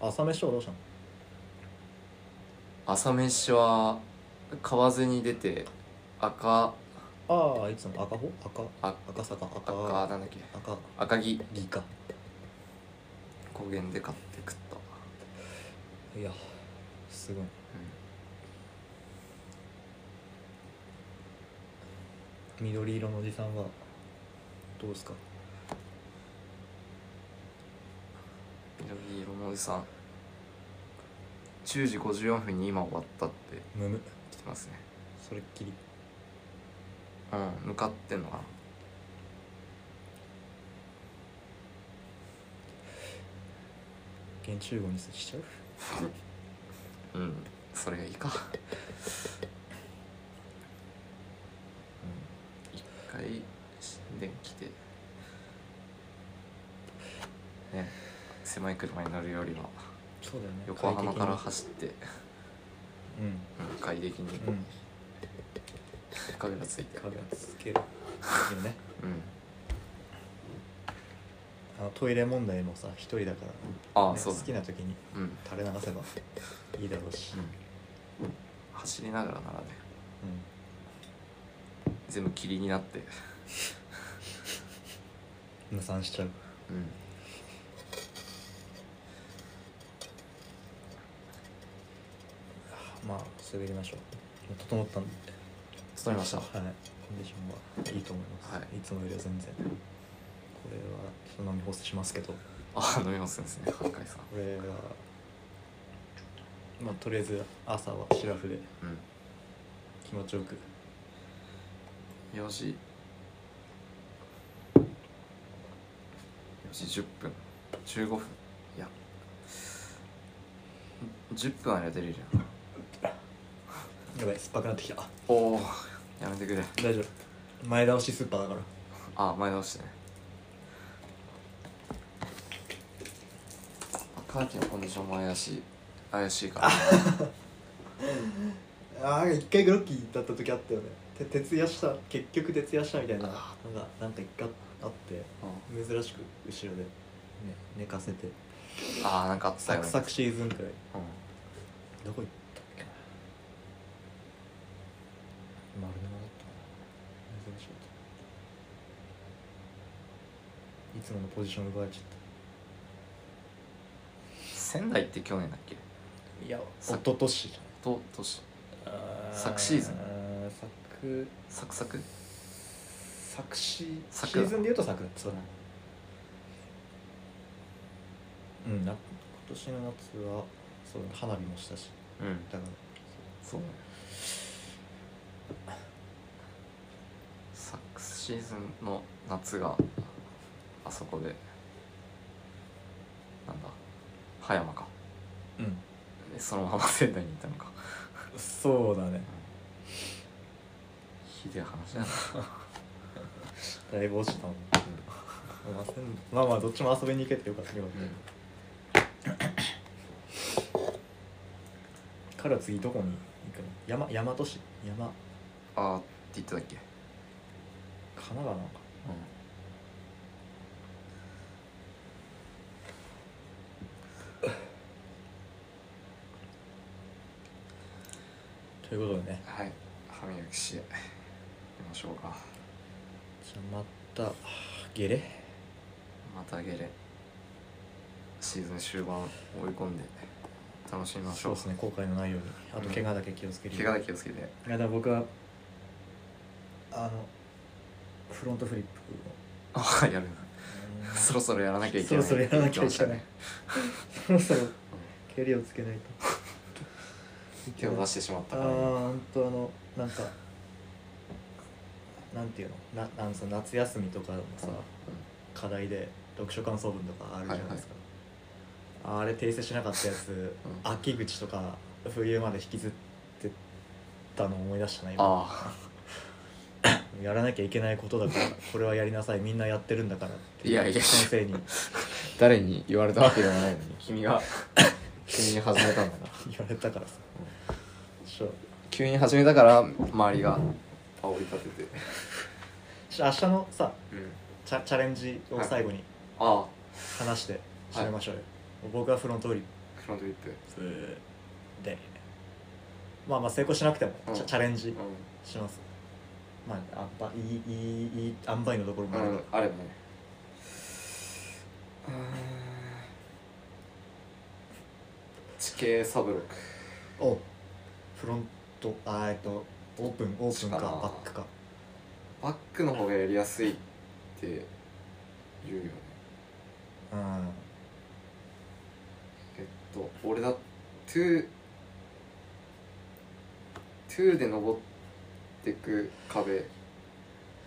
S1: 朝飯はどうしたの
S2: 朝飯は川瀬に出て赤
S1: ああいつも赤穂赤
S2: あ
S1: 赤坂赤
S2: 赤
S1: 赤
S2: なんだっけ
S1: 赤
S2: 赤木
S1: 木か
S2: 高原で買って食った、
S1: いやすごい緑色のおじさんはどうですか
S2: うん、緑色のおじさん10時54分に今終わったって
S1: むむ
S2: 来てますね
S1: それっきり
S2: うん向かってんのかな
S1: 現中語にしちゃう
S2: うんそれがいいかうん一回神殿来てね狭い車に乗るよりは
S1: そうだよね
S2: 横浜から
S1: 快
S2: 走って、
S1: 適に
S2: うん、快適に
S1: うんう ん
S2: 影がついて
S1: 影がつけるよね
S2: うん
S1: あのトイレ問題もさ一人だから、
S2: ああ、
S1: ね
S2: そう
S1: 好
S2: だ
S1: き
S2: ね
S1: な時に
S2: うん、うん、
S1: 垂れ流せばいいだろうし、
S2: 走りながらならね
S1: うん
S2: 全部霧になって
S1: 無産しちゃう
S2: うん
S1: まあ滑りましょう整ったんで
S2: 整りました
S1: はいコンディションはいいと思います、、
S2: はい
S1: つもよりは全然これはちょっと飲み干しますけどこ
S2: ああ飲みますね赤井さん
S1: れはまあとりあえず朝はシラフで
S2: うん
S1: 気持ちよく
S2: 4時4時10分15分いや10分あれば出れるやん
S1: やばい酸っぱくなってきたあ
S2: おおやめてくれ
S1: 大丈夫前倒しスーパーだから
S2: あ前倒してねカーキのコンディションも怪しい怪しいから
S1: ああ一回グロッキーだった時あったよねて徹夜した結局徹夜したみたいななんかなんか一回あって珍しく後ろで、ね、寝かせて
S2: ああなんかあったよ
S1: サ
S2: ね
S1: クサクシーズンくらい
S2: うん
S1: どこ行ったっけな丸沼だったかな珍しかったいつものポジション奪われちゃっ
S2: 仙台って去年だっけ
S1: たいや
S2: さ
S1: 一昨年じ
S2: と年
S1: ゃない
S2: 昨シーズン
S1: ン昨
S2: サクサク
S1: 昨シ
S2: 昨
S1: シーズンでいうと昨だったうんな今年の夏はそう花火もしたし
S2: うん
S1: だから
S2: そう昨シーズンの夏があそこでなんだ葉山か
S1: うん
S2: でそのまま仙台に行ったのか
S1: そうだね
S2: ひでえ話だな
S1: だいぶ落ちたもん、まあせんまあまあどっちも遊びに行けてよかったけ ど、から次どこに行くの山大和市山
S2: あーって言ってたっけ、
S1: 神奈川なのかということでね
S2: はい歯磨きしていきましょうか
S1: じゃあまたゲレ
S2: またゲレシーズン終盤追い込んで楽しみまし
S1: そう
S2: ょう
S1: ですね後悔のないようにあと怪我だけ気をつける
S2: 怪
S1: よう
S2: 我
S1: に
S2: だけ気をつけて
S1: いやだから僕はあのフロントフリップ
S2: あ
S1: を
S2: やるな そろそろやらなきゃい
S1: そ
S2: けな
S1: ろ
S2: い
S1: そろやらなきゃいけないそろそろ蹴りをつけないと
S2: 手を出してしまっ
S1: あ
S2: た
S1: あ
S2: からね
S1: ーほんとあのなんかなんていうのななんその夏休みとかのさ、課題で読書感想文とかあるじゃないですか、あれ訂正しなかったやつ、
S2: うん
S1: 秋口とか冬まで引きずってたの思い出したな今
S2: あ
S1: やらなきゃいけないことだからこれはやりなさいみんなやってるんだからって
S2: いやいやいや
S1: 先生に
S2: あ誰に言われたわけではないのに君 が急に始めたんだな
S1: 言われたからさ、そう
S2: 急に始めたから周りが煽り立てて
S1: し明日のさ
S2: うん
S1: チャチャレンジを最後に
S2: あ
S1: 話して締めましょうよ、僕はフロントフリッ
S2: あフロントリップ
S1: プでまあまあ成功しなくても、
S2: うん
S1: チャチャレンジ
S2: う
S1: しますまああんばいいいいいい塩梅のところもあ
S2: ん、
S1: る
S2: う
S1: か
S2: ん、あればねうーん地形サブロック
S1: ら、おフロントあーえっとオープンオープンか
S2: かな
S1: バックか
S2: バックの方がやりやすいって言うよね
S1: うん
S2: えっと俺だトゥートゥーで登ってく壁ト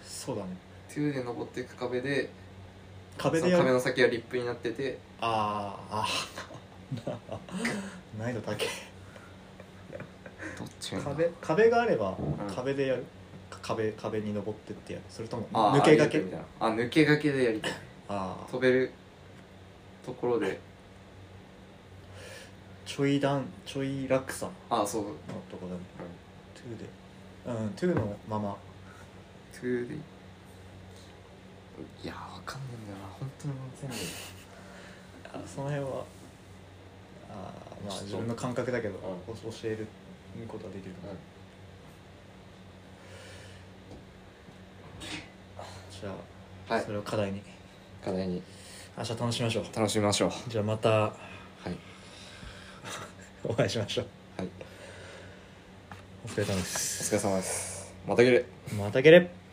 S1: そうだね
S2: ゥーで登ってく壁で
S1: 壁
S2: そ
S1: で
S2: の
S1: や
S2: 壁
S1: る
S2: の先がリップになってて
S1: あーあ ー難易度高い
S2: どっちが
S1: 壁壁があれば
S2: ん
S1: 壁でやる、か壁壁に登ってってやるそれとも
S2: あー
S1: 抜けがけ
S2: ありたいみたいなあ抜けがけでやりたい
S1: ああ
S2: 飛べるところで
S1: ちょい段ちょい落差の
S2: あそう
S1: とこだね2でうん2のまま
S2: トゥーでいやわかんないんだよな本当に全部
S1: あその辺はあーま
S2: ちょっ
S1: あ
S2: と
S1: 自分の感覚だけど、
S2: う
S1: お教えることはできるかな、じゃあ、
S2: はい
S1: それを課題に
S2: 課題に
S1: 明日楽しみましょう
S2: 楽しみましょう
S1: じゃあまた
S2: はい
S1: お会いしましょう
S2: はい
S1: お疲れ様で
S2: お
S1: す
S2: 疲れ様ですまた来る
S1: またゲレ